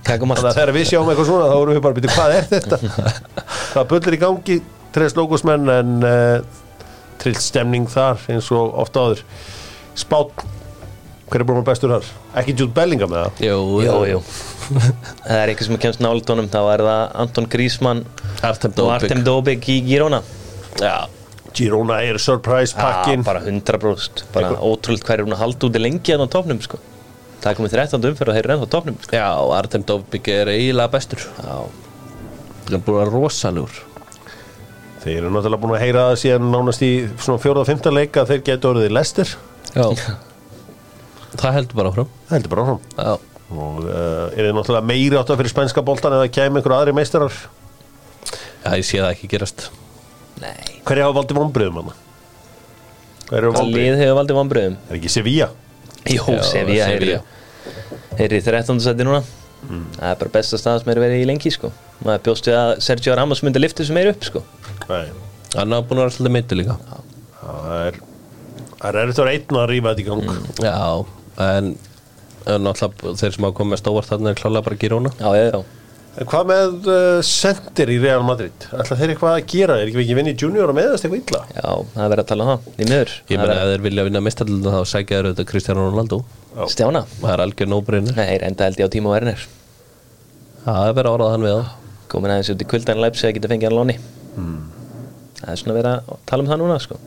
Speaker 3: Kakum
Speaker 1: þannig að
Speaker 3: allt
Speaker 1: þegar við sjáum eitthvað svona þá erum við bara að byrja hvað er þetta það bullir í gangi, treyðs lókusmenn en uh, trillt stemning þar eins og ofta áður spátt, hver er búin að bestur þar? ekki Jude Bellingham með það?
Speaker 2: Jú,
Speaker 3: Jú, jú Það er eitthvað sem kemst nálægt honum Þá er það Anton Grísmann
Speaker 2: Artem
Speaker 3: og
Speaker 2: Dobik
Speaker 3: Artem Dobik í Girona Ah,
Speaker 2: Já,
Speaker 1: Girona er surprise pakkin
Speaker 3: bara 100 brúst Bara
Speaker 1: Eitthvað-
Speaker 3: ótrúlega hverju hún að halda út í lengi Þannig á topnum sko Það er komið 13. umferð og þeir eru ennþá á topnum sko.
Speaker 2: já Artem Dobik er eiginlega bestur Já Það er búin að vera rosalur
Speaker 1: Þeir eru náttúrulega búin að heyra það síðan nánast í svona fjóra og fymta leika að þeir geta orðið lestir.
Speaker 2: Já Það heldur bara áfram
Speaker 1: Það heldur bara áfram.
Speaker 2: Já
Speaker 1: Og uh, er þið náttúrulega meiri átt fyrir spænska boltan eða kemur einhver aðri meistarar?
Speaker 2: Já, ég sé það ekki gerast
Speaker 3: Nei
Speaker 1: Hverja hafa valdið vonbröðum hann? Hver eru
Speaker 3: Hvað
Speaker 1: vonbröðum?
Speaker 3: lið hefur valdið vombriðum?
Speaker 1: Er ekki Sevilla?
Speaker 3: Jó,
Speaker 2: Já,
Speaker 3: Sevilla er í-
Speaker 2: Sevilla.
Speaker 3: er í 13. seti núna Það er bara besta stað sem er verið í lengi sko Maður bjóst við að Sergio Ramos myndi lifta sem meir upp sko
Speaker 1: Nei.
Speaker 2: Hann er búin að vera svolítið meittu líka
Speaker 1: Það er, það er erfitt að vera einn að rífa þetta í gang.
Speaker 3: Mm.
Speaker 2: Já, en, en alltaf þeir sem hafa komið mest óvart þarna er klálega bara Girona
Speaker 3: Já, já, já
Speaker 1: En hvað með uh, sendir í Real Madrid? Ætla þeir eitthvað að gera? Er ekki ekki vinni junior að meðast eitthvað illa?
Speaker 3: Já, það er verið að tala um það Í miður
Speaker 2: Ég
Speaker 3: Það er
Speaker 2: meina ef þeir vilja vinna mistallina þá sækja þeir auðvitað Kristján Ronaldo
Speaker 1: Já.
Speaker 3: verið- Stjána
Speaker 2: Það er algjör nóbreynir
Speaker 3: Nei, enda held ég á tíma og erinir
Speaker 2: Það er verið að orða hann við það
Speaker 3: Komin aðeins út í kuldan læps eða geta fengið hann lóni Það er svona verið að tala um það núna sko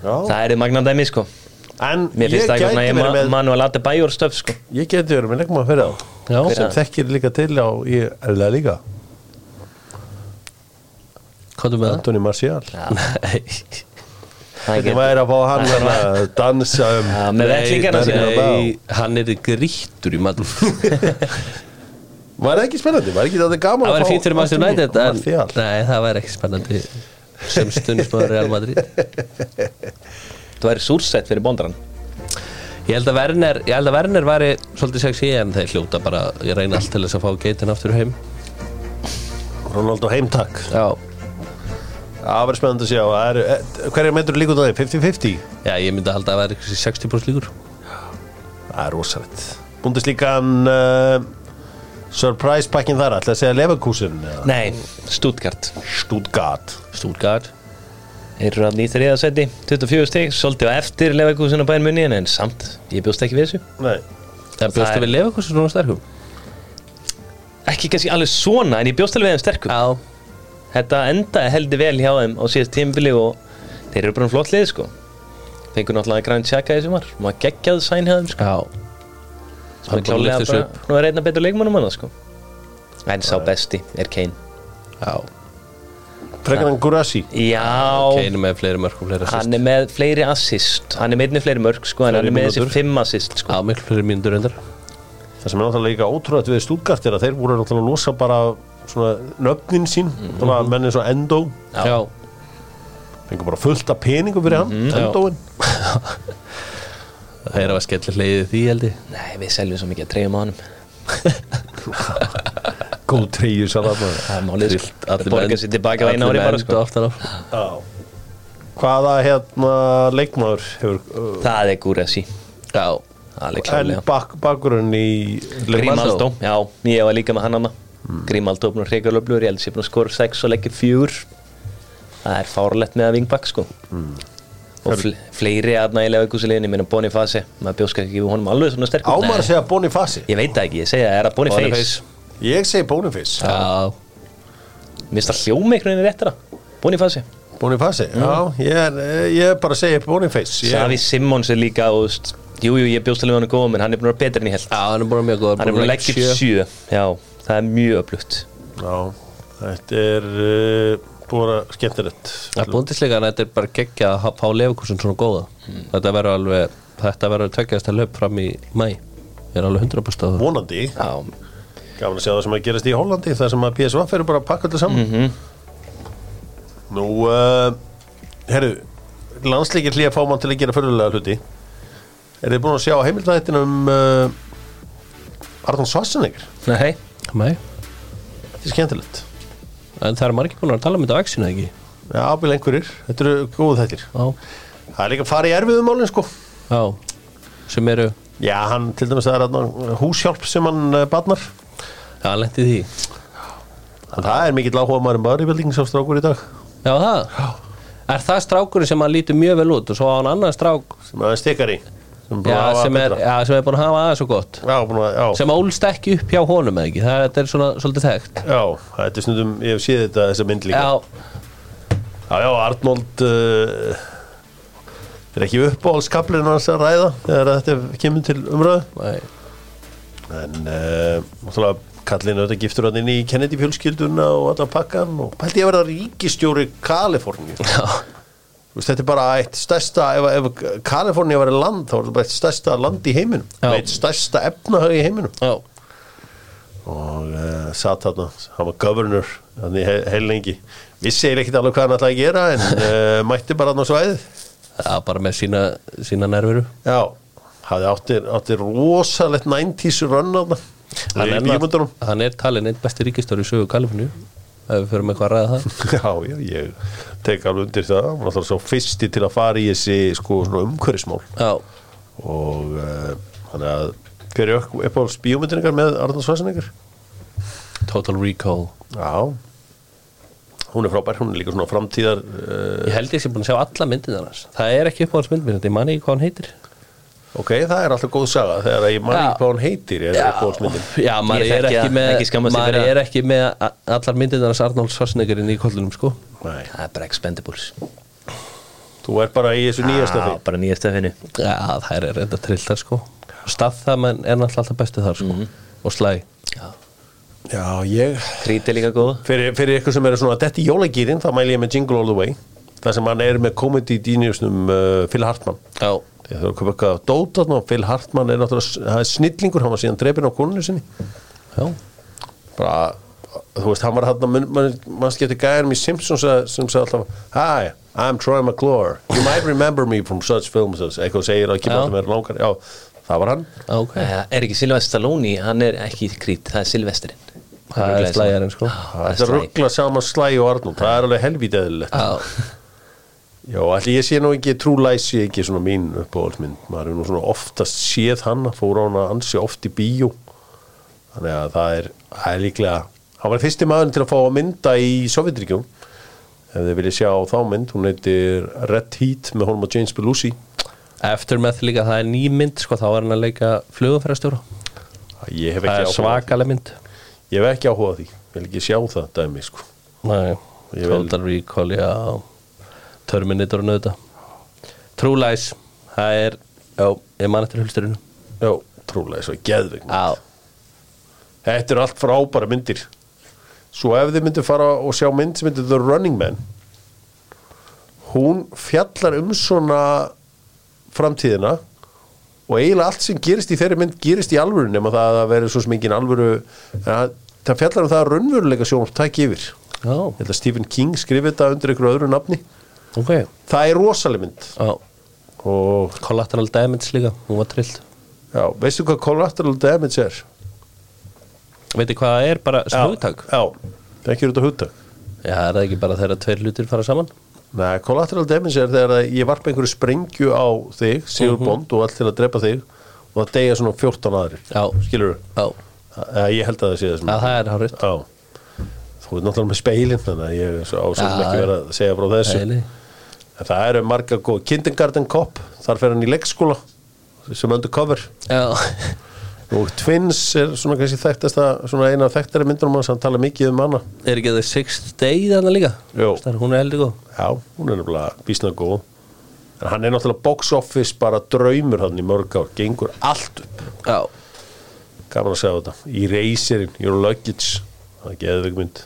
Speaker 1: Já.
Speaker 3: Það er þið magnan dæmi sko
Speaker 1: En
Speaker 3: Mér
Speaker 1: ég
Speaker 3: finnst það
Speaker 1: gæti
Speaker 3: eitthvað svona
Speaker 1: verið
Speaker 3: ég ma-
Speaker 1: með,
Speaker 3: Manuel Adebayor stöf sko
Speaker 1: ég gæti verið með leikmann fyrir þá.
Speaker 2: Já,
Speaker 3: Hver er
Speaker 1: sem
Speaker 3: hann?
Speaker 1: þekkir líka til á í La Liga
Speaker 2: hvað er með það?
Speaker 1: Antoni Marcial
Speaker 2: Nei,
Speaker 3: Það er
Speaker 1: Hvernig
Speaker 3: ekki-
Speaker 1: væri að fá hann að dansa um
Speaker 3: Já, Með
Speaker 2: Nei,
Speaker 3: vettlingarna sína
Speaker 2: nei,
Speaker 1: Bernabéu.
Speaker 2: Hann er grýttur í mann
Speaker 1: Var það ekki spennandi? Var ekki þetta gaman að
Speaker 2: Það væri
Speaker 1: fá
Speaker 2: fínt fyrir Manchester
Speaker 1: Antoni
Speaker 2: United en,
Speaker 1: Martial?
Speaker 2: Nei, það væri ekki spennandi sem stundismöður Real Madrid
Speaker 3: Það væri súrsætt fyrir bondran
Speaker 2: Ég held að Werner, ég held að Werner væri svolítið sexy en þeir hljóta bara ég reyna allt til þess að fá geitin aftur heim
Speaker 1: Ronaldo heimtak
Speaker 2: Já,
Speaker 1: Það verður spennandi að sjá Það eru- eh, Hverja meintur líka út á þeim? 50-50?
Speaker 2: Já, ég myndi að halda að það væri eitthvað 60% líkur
Speaker 1: Það er rosalegt Búndist líka hann Surprise pakkin þar Ætla að segja Leverkusen eða
Speaker 3: Nei, Stuttgart
Speaker 1: Stuttgart
Speaker 2: Stúlgard
Speaker 3: Þeir eru að nýta reyðasetti, 24 stík, svolítið á eftir Leverkusen og Bayern Munið, en samt, ég bjóst ekki við þessu.
Speaker 1: Nei
Speaker 2: Það bjóstu
Speaker 3: er-
Speaker 2: við lefa hversu svona sterkum
Speaker 3: Ekki kannski alveg svona, en ég bjóst alveg við þeim sterkum.
Speaker 2: Já
Speaker 3: Þetta endaði heldur vel hjá þeim á síðast tímbili og þeir eru bara um flott lið, sko. Fengur náttúrulega græn tjaka í sumar, maður geggjaði sæn hjá þeim, sko.
Speaker 2: Já
Speaker 3: Það er klálega
Speaker 2: lyfta
Speaker 3: bara,
Speaker 2: upp.
Speaker 3: nú er einna betur leikmannum hann, sko. En sá besti er Kane.
Speaker 2: Já
Speaker 1: Frekar hann Gurasi
Speaker 3: Já,
Speaker 2: Kane er með fleiri mörg og fleiri assist
Speaker 3: hann er með fleiri assist, hann er með einni fleiri mörg, sko, en
Speaker 1: Fleiri
Speaker 3: hann er með þessi
Speaker 1: mínútur.
Speaker 3: fimm assist, sko.
Speaker 2: Já, miklu fleiri mínútur endur
Speaker 1: Það sem er náttúrulega líka ótrúðat við Stuttgart er að þeir voru náttúrulega að losa bara svona nöfnin sín
Speaker 2: Mhm.
Speaker 1: mm -hmm. menn eins og Endo
Speaker 2: Já, Já.
Speaker 1: fengur bara fullt af peningum fyrir hann
Speaker 3: Mhm.
Speaker 1: Endóin
Speaker 2: Það er að skella hliðið því held ég
Speaker 3: Nei, við seljum svo mikið að treyjum á honum.
Speaker 1: góð treyju salat
Speaker 3: Það er málið sko. Það
Speaker 2: Allir
Speaker 3: borgar
Speaker 2: menn-
Speaker 3: sér tilbaka á einu ári
Speaker 2: allir
Speaker 3: bara
Speaker 2: menn
Speaker 3: sko.
Speaker 2: oftar af.
Speaker 1: hvaða hérna leikmaður hefur uh,
Speaker 3: Það er Gúrasi
Speaker 2: Já
Speaker 3: Alveg
Speaker 1: en
Speaker 3: klálega
Speaker 1: bak, bakgrunn í leikmaður
Speaker 3: Grímaldó, já, ég var líka með hann anna
Speaker 1: Mm.
Speaker 3: Grímaldó búin að hreika löflugur, ég held sér búin að skora 6 og leggja 4 Það er fárlegt með að vingbak sko
Speaker 1: Mm.
Speaker 3: Og fl fleiri aðna í lefegúsuleginni, minna Boniface Maður bjóskar ekki við honum alveg svona sterkur
Speaker 1: ámar að segja Bonifaci
Speaker 3: Ég veit það ekki, ég segja það, er að Boniface
Speaker 2: Boniface.
Speaker 1: ég segi Boniface
Speaker 2: Já
Speaker 3: Mista hljóma einhvern veginn réttara Boniface
Speaker 1: Bonifaci, já, ég, er- eh, ég er bara að segja Boniface ég,
Speaker 3: Mm. Savi Simmons er líka, þú veist Jújú, ég bjóst alveg við hann er góðum, en hann er búin að vera betri en ég held
Speaker 2: Já, hann er bara mjög góð
Speaker 3: Hann er búin að leggja upp sjö Já, það er mjög öflugt
Speaker 1: já, þetta er uh, búin að skemmtilegt
Speaker 2: Það er búndisleika en þetta er bara geggja að fá lefakursin svona góða
Speaker 1: Hmm.
Speaker 2: Þetta verður alveg Þetta verður tökjast að löp fram í mæ Ég er alveg 100% á það
Speaker 1: vonandi
Speaker 3: Já,
Speaker 1: Gaman að sjá það sem að gerast í Hollandi Það sem að PSV fyrir bara að pakka allir saman
Speaker 2: Mhm.
Speaker 1: Nú uh, Herru Landsleikir hlýja fá mann til að gera fyrirlega hluti Er þið búin að sjá eh, heimildættin um uh, Arnón Svarsenegger
Speaker 3: nei
Speaker 2: Mæ
Speaker 1: þetta er skemmtilegt
Speaker 2: En það er margir búin að tala um þetta á exinu, ekki?
Speaker 1: Já, ábyrð einhverjir, þetta eru góð þættir
Speaker 2: Já,
Speaker 1: Það er líka að fara í erfiðum málinn sko
Speaker 2: já Sem eru,
Speaker 1: Já, hann til dæmis það er þarna húshjálp sem hann eh, barnar
Speaker 2: já, hann lenti í því
Speaker 1: En það er mikill áhuga maður um bodybuilding sem strákur í dag
Speaker 2: Já, það Er það strákurinn sem hann lítur mjög vel út og svo á hann annan strák
Speaker 1: sem er stekari sem er búin að
Speaker 2: já,
Speaker 1: hafa
Speaker 2: sem, er,
Speaker 1: betra.
Speaker 2: já, sem er búin að hafa aðeins og gott
Speaker 1: Já, búin að, já,
Speaker 2: sem ólst ekki upp hjá honum eða ekki það þetta er svona svolítið þekkt
Speaker 1: já, þetta er snundum, ég hef séð þetta þessa mynd líka
Speaker 2: Já,
Speaker 1: Já, já, Arnold uh, er ekki uppáhaldskaplinn hans að ræða þegar þetta kemur til umröðu
Speaker 2: nei,
Speaker 1: en uh, náttúrulega kallinn auðvitað giftur hann inn í Kennedy fjölskylduna og alla pakkan og pælti ég að verða ríkistjóri Kaliforníu
Speaker 2: já,
Speaker 1: Þú veist, þetta er bara eitt stærsta ef, ef Kaliforníu væri land þá er þetta bara eitt stærsta land í heiminum
Speaker 2: Já.
Speaker 1: eitt stærsta efnahag í heiminum
Speaker 2: já,
Speaker 1: og uh, satt þarna, hann var governor hann í heil, heil lengi vissi eiginlega ekkert alveg hvað hann ætlaði að gera en uh, mætti bara hann á svæðið
Speaker 2: já, bara með sína, sína nervuru
Speaker 1: já, hafði áttir, áttir rosalegt 90s run á það í
Speaker 2: er,
Speaker 1: bíumundunum
Speaker 2: hann er talin einn besti ríkistóri í sögu Kaliforníu ef við förum eitthvað að ræða það
Speaker 1: já, já, ég tek alveg undir það hann var alltaf svo fyrsti til að fara í þessi sko, svona umhverfismál
Speaker 2: Já,
Speaker 1: og uh, hann að hver er uppáhalds bíumundinningar með Arnald Svarsenegger?
Speaker 2: Total Recall
Speaker 1: já hún er frábær, hún er líka svona framtíðar uh,
Speaker 2: Ég held ég sem búin að sjá alla myndin annars Það er ekki uppáhalds myndin, þetta er manni ekki hvað hann heitir
Speaker 1: Ok, það er alltaf góð saga þegar ég man
Speaker 2: Já.
Speaker 1: ekki hvað hún heitir er uppáhaldsmyndin.
Speaker 2: já maður
Speaker 3: Ég
Speaker 2: er
Speaker 3: þekki
Speaker 2: ekki
Speaker 3: það,
Speaker 2: með
Speaker 3: ekki skammast sín
Speaker 2: maður
Speaker 3: fyrir það.
Speaker 2: er ekki með a- allar myndin annars Arnold Schwarzenegger inn í kollunum sko
Speaker 1: Nei,
Speaker 3: Það er bara expendables
Speaker 1: þú er bara í þessu nýja
Speaker 3: Já,
Speaker 1: stafi
Speaker 3: bara nýja stefinu
Speaker 2: Já, það er reynda trilltar sko Staffamenn er náttúrulega alltaf bestu þar sko
Speaker 3: Mhm.
Speaker 2: Og slæ
Speaker 1: Já, ég
Speaker 3: Krít er líka góð
Speaker 1: Fyrir, fyrir ykkur sem eru svona dett í jólagýrin þá mæli ég með Jingle All The Way þar sem hann er með komedi dýnjusnum uh, Phil Hartman
Speaker 2: Já,
Speaker 1: Ég þarf að köpa eitthvað að dóta þarna og Phil Hartman er náttúrulega það er snillingur, hann var síðan drepinn á konunni sinni
Speaker 2: já,
Speaker 1: bara, þú veist, hann var hann mann man skipti gæðanum í Simpsons að- sem sagði alltaf, hi, I'm Troy McClure you might remember me from such films as-" eitthvað segir að
Speaker 2: Já.
Speaker 1: kippa alltaf meira langar Já, það var hann
Speaker 2: já, ok
Speaker 3: Það Eh, er ekki Silvestre Stallone Hann er ekki krít, það er Silvestrin
Speaker 2: Það er slæjarinn sko
Speaker 1: Þetta ruggla saman slæg og Arnúld Það er alveg helvítið eðlilegt
Speaker 2: Já,
Speaker 1: Já, allir ég sé nú ekki, trú læsi ekki svona mín uppáhaldsmynd Maður er nú svona oftast séð hann Fór á hann að ansi oft í bíó Þannig að það er, það er líklega Hann var fyrsti maðurinn til að fá að mynda í Sovjetríkjum Ef þið viljið sjá þá mynd Hún heitir Red Heat með honum og James Belushi
Speaker 2: Aftermath líka, það er ný mynd sko Þá er hann að leika flugumferðarstjóra
Speaker 1: Ég hef ekki
Speaker 2: Það er
Speaker 1: áhuga á því.
Speaker 2: svakaleg mynd
Speaker 1: Ég hef ekki áhuga á því, ég vil ekki sjá það dæmi sko.
Speaker 2: Nei,
Speaker 1: Ég vil-
Speaker 2: Total Recall, já Terminator og nöðuta True Lies, það er Já, ég man eftir hulsturinu
Speaker 1: Já, trúlega svo geðvig
Speaker 2: Já,
Speaker 1: Þetta eru allt frábæra myndir Svo ef þið myndir fara og sjá mynd sem myndir The Running Man hún fjallar um svona framtíðina og eiginlega allt sem gerist í þeirri mynd gerist í alvöru nema það að vera svo sem engin alvöru það, það fjallar um það að raunveruleika sjónvarp tæki yfir ég
Speaker 2: já,
Speaker 1: held að Stephen King skrifi þetta undir einhverju öðru nafni
Speaker 2: ok Já,
Speaker 1: það er rosaleg mynd og
Speaker 2: Collateral Damage líka, hún var trillt
Speaker 1: já, veistu hvað collateral damage er?
Speaker 2: Veitir hvað það er, bara sem hugtak
Speaker 1: Já, það er ekki út af hugtak
Speaker 2: Já, er það ekki bara þegar tveir hlutir fara saman?
Speaker 1: Nei, collateral damage er þegar að ég varpa einhverju sprengju á þig, Sigur
Speaker 2: Mhm.
Speaker 1: og allt til að drepa þig og það deyja svona 14 aðrir
Speaker 2: Já.
Speaker 1: Skilur
Speaker 2: Já,
Speaker 1: Ég held að það sé þessum
Speaker 2: að það er hárið
Speaker 1: Já Þú veit náttúrulega með speilin þannig að ég ásöld
Speaker 2: Já,
Speaker 1: ekki
Speaker 2: já.
Speaker 1: vera að segja frá þessu
Speaker 2: Nei, nei.
Speaker 1: En það eru marga góð Kindergarten Cop, þar fer hann í leikskóla sem undercover
Speaker 2: Já,
Speaker 1: og Twins er svona kannski þekktasta svona eina af þekktari myndunum hans, hann tala mikið um hana
Speaker 2: er ekki það sixth day þannig líka?
Speaker 1: Jú.
Speaker 2: Star, hún er heldur góð
Speaker 1: Já, hún er nefnilega bísna góð En hann er náttúrulega box office bara draumur hann í mörg ár, gengur allt upp
Speaker 2: Já,
Speaker 1: Gaman að segja þetta Í reysirin, your luggage Það er geðveik mynd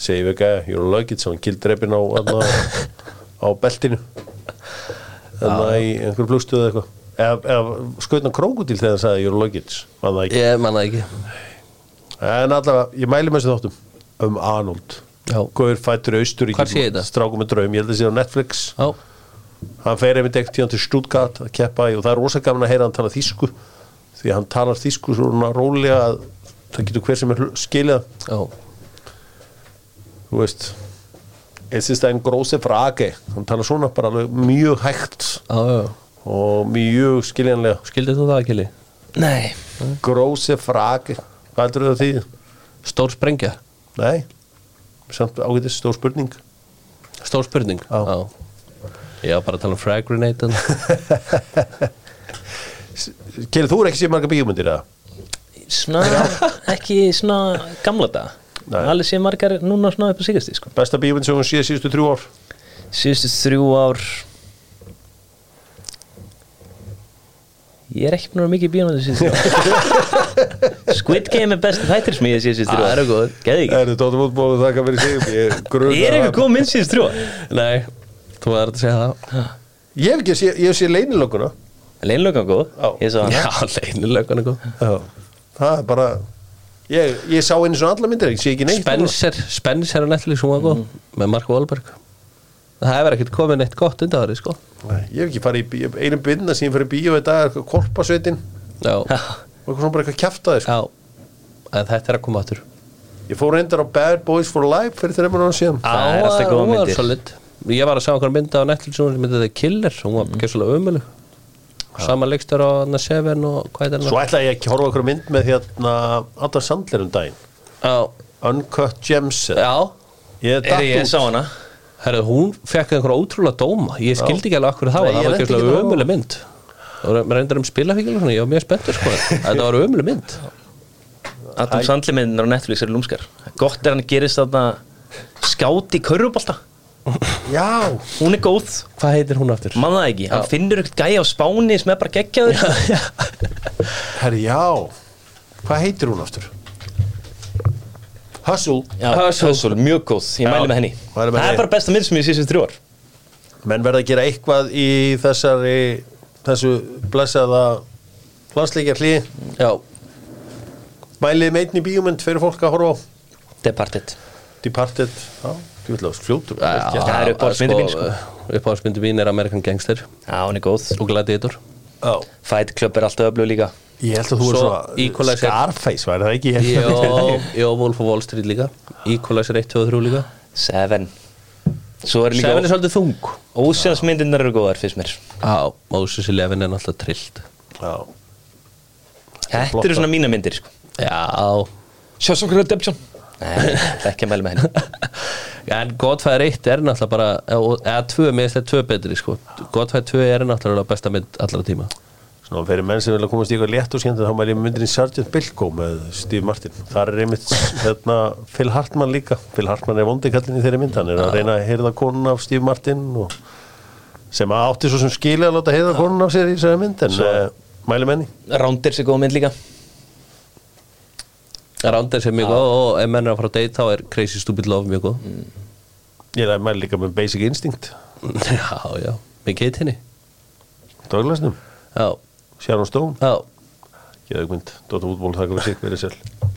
Speaker 1: Segir við gæja, your luggage, hann kildreipin á þarna, á beltinu Þannig að í einhverju flugstuðu eða eitthvað Eða, eða skautna krókudil þegar hann sagði your luggage Man það ekki.
Speaker 2: ég manna ekki
Speaker 1: En allavega, ég mæli með þessu þáttum Um Arnold
Speaker 2: Já.
Speaker 1: Guður fættur í Austuríki
Speaker 2: Hvar sé ég þetta?
Speaker 1: Strákum með draum, ég held að sé á Netflix
Speaker 2: Já,
Speaker 1: hann fer einmitt ekkert tíðan til Stuttgart að keppa í og það er rosa gaman að heyra hann tala þýsku því að hann talar þýsku svona rólega að það getur hver sem er hl- skilið það.
Speaker 2: Já,
Speaker 1: þú veist Es ist ein große Frage hann talar svona bara alveg mjög hægt
Speaker 2: já, já
Speaker 1: og mjög skiljanlega
Speaker 2: Skildið þú það, Kili?
Speaker 3: Nei
Speaker 1: Große Frage, hvað heldur það því?
Speaker 2: Stór sprengja,
Speaker 1: Nei, samt ágætis stór spurning
Speaker 2: stór spurning
Speaker 1: Já.
Speaker 2: Ég var bara að tala um frag grenade en-
Speaker 1: Kelly, þú er ekki sér marga bíómyndir eða?
Speaker 3: Svona, ekki svona gamla dag
Speaker 1: Nei.
Speaker 3: Alveg sé margar núna svona upp á síkast sko.
Speaker 1: Besta bíómynd sem hún sé síðustu þrjú ár
Speaker 3: Síðustu þrjú ár Ég er ekki búin að vera mikið bíónandi síðustu þrjú ár Squid Game er besti þættir sem ég hef séð síðustu þrjú ár
Speaker 2: Það eru góð.
Speaker 3: Geði ekki
Speaker 1: Er þetta áttum útbóðu þakka fyrir sig Ég, gruna,
Speaker 3: Ég er eitthvað góð minn síðustu þrjú ár
Speaker 2: Nei, þú var að segja það
Speaker 1: Ég hef ekki sé, ég hef sé leinilögguna
Speaker 3: Leinlökan góð,
Speaker 1: Já.
Speaker 3: ég sá hana
Speaker 2: Já, sko. leinilögun eitthvað
Speaker 1: Það er bara Ég, ég sá einu svona alla myndir, ég sé ekki neitt
Speaker 2: Spencer, Spencer er Netflix, hún var góð
Speaker 3: Mm.
Speaker 2: Með Mark Wahlberg Það hefur ekkert komið neitt gott undan árið, sko
Speaker 1: Nei, Ég hef ekki farið í bíó, einum byrna sem ég farið í bíó í dag er eitthvað korpasveitin
Speaker 2: Já,
Speaker 1: og eitthvað svona bara eitthvað kjaftaði sko.
Speaker 2: já En þetta er að koma áttur
Speaker 1: Ég fór reyndar á Bad Boys for Life fyrir þreymur ára síðan
Speaker 3: Það er alltaf góðar myndir.
Speaker 2: solid. Ég var að sjá einhverja mynda á Netflix hún sem myndið The Killer, hún
Speaker 3: Mm.
Speaker 2: var ekki svolítið ömulug Sama leikstur á Anna Seven og hvað er
Speaker 1: Svo
Speaker 2: það?
Speaker 1: ætlaði ég ekki að horfa okkur mynd með hérna Adam Sandler um daginn
Speaker 2: Já,
Speaker 1: Uncut Gems eða-
Speaker 2: já
Speaker 1: Ég datt
Speaker 3: Ég
Speaker 1: út.
Speaker 3: sá hana
Speaker 2: Herðu, hún fekk einhverja ótrúlega dóma Ég skildi ekki alveg akkur það
Speaker 1: Nei,
Speaker 2: var, það
Speaker 1: ég lenti
Speaker 2: var ekki
Speaker 1: ekki
Speaker 2: svolítið
Speaker 1: á-
Speaker 2: ömuleg mynd og re- reyndar um spilafíkil og svona, ég var mjög spenntur sko Þetta var ömuleg mynd
Speaker 3: Adam Sandler myndin á Netflix eru lúmskar Gott er hann gerist þarna skáti í körfubolta
Speaker 1: Já,
Speaker 3: Hún er góð
Speaker 2: Hvað heitir hún aftur?
Speaker 3: mann það ekki, hann finnur ekkert gæja á spáni sem er bara geggjaður
Speaker 1: herri já Hvað heitir hún aftur? Hustle
Speaker 3: Já, Hustle, mjög góð, ég
Speaker 1: Já.
Speaker 3: mæli með henni
Speaker 1: Mæli með
Speaker 3: það
Speaker 1: henni.
Speaker 3: er bara besta mynd sem ég sé sem þrjú ár
Speaker 1: Menn verða að gera eitthvað í þessari þessu blessaða landsleikja hlý
Speaker 2: Já,
Speaker 1: Mælið með einni bíómynd fyrir fólk að horfa á
Speaker 3: Departed
Speaker 1: Departed Já, þú vil að fljótur
Speaker 2: já,
Speaker 3: það er uppáhaldsmyndin mín, sko.
Speaker 2: Ah, eh, Uppáhaldsmyndin mín er American Gangster
Speaker 3: Já, hún er góð
Speaker 2: og Gladiator
Speaker 1: Já,
Speaker 3: Fight Club er alltaf öflug líka
Speaker 1: ég held að þú er
Speaker 2: Svo
Speaker 1: svona
Speaker 2: Equalizer.
Speaker 1: Scarface, var það ekki? Ég held að-
Speaker 2: Jó, jó, Wolf of Wall Street líka Equalizer 1, 2 og 3 líka
Speaker 3: Seven Svo er
Speaker 2: Seven er
Speaker 3: líka
Speaker 2: svolítið þung
Speaker 3: Ósjans myndirnar eru góðar fyrst mér
Speaker 2: Já, Moses Eleven er náttúrulega trillt
Speaker 1: Já,
Speaker 3: Þetta
Speaker 1: flottar.
Speaker 3: eru svona mína myndir sko.
Speaker 2: Já
Speaker 3: Sjássonkur Redemption Nei, það er ekki að mæli með henni
Speaker 2: En Godfæðir 1 er náttúrulega bara eða- eða 2, mér finnst þetta 2 betri sko Godfæðir 2 er náttúrulega besta mynd allra tíma
Speaker 1: svona fyrir menn sem vilja komast í eitthvað létt og skemmt þá mæli ég myndirinn Sergeant Bilko með Steve Martin þar er einmitt hérna, Phil Hartman líka Phil Hartman er vondi kallin í þeirri mynd hann er að reyna að heyrða konun af Steve Martin og sem að átti svo sem skilja að láta heyrða konun af sér í þessari mynd en uh, mæli menni
Speaker 3: Rounders er góð mynd líka
Speaker 2: Rándar sem mjög góð og ef menn er að fara að date þá er Crazy Stupid Love mjög góð
Speaker 1: ég er að mæli líka með Basic Instinct
Speaker 2: Já, já, með Kate henni
Speaker 1: Douglasnum,
Speaker 2: Já,
Speaker 1: Sharon Stone
Speaker 2: já,
Speaker 1: Geðugmynd, Dóta Útból, þakka fyrir sig, verið sér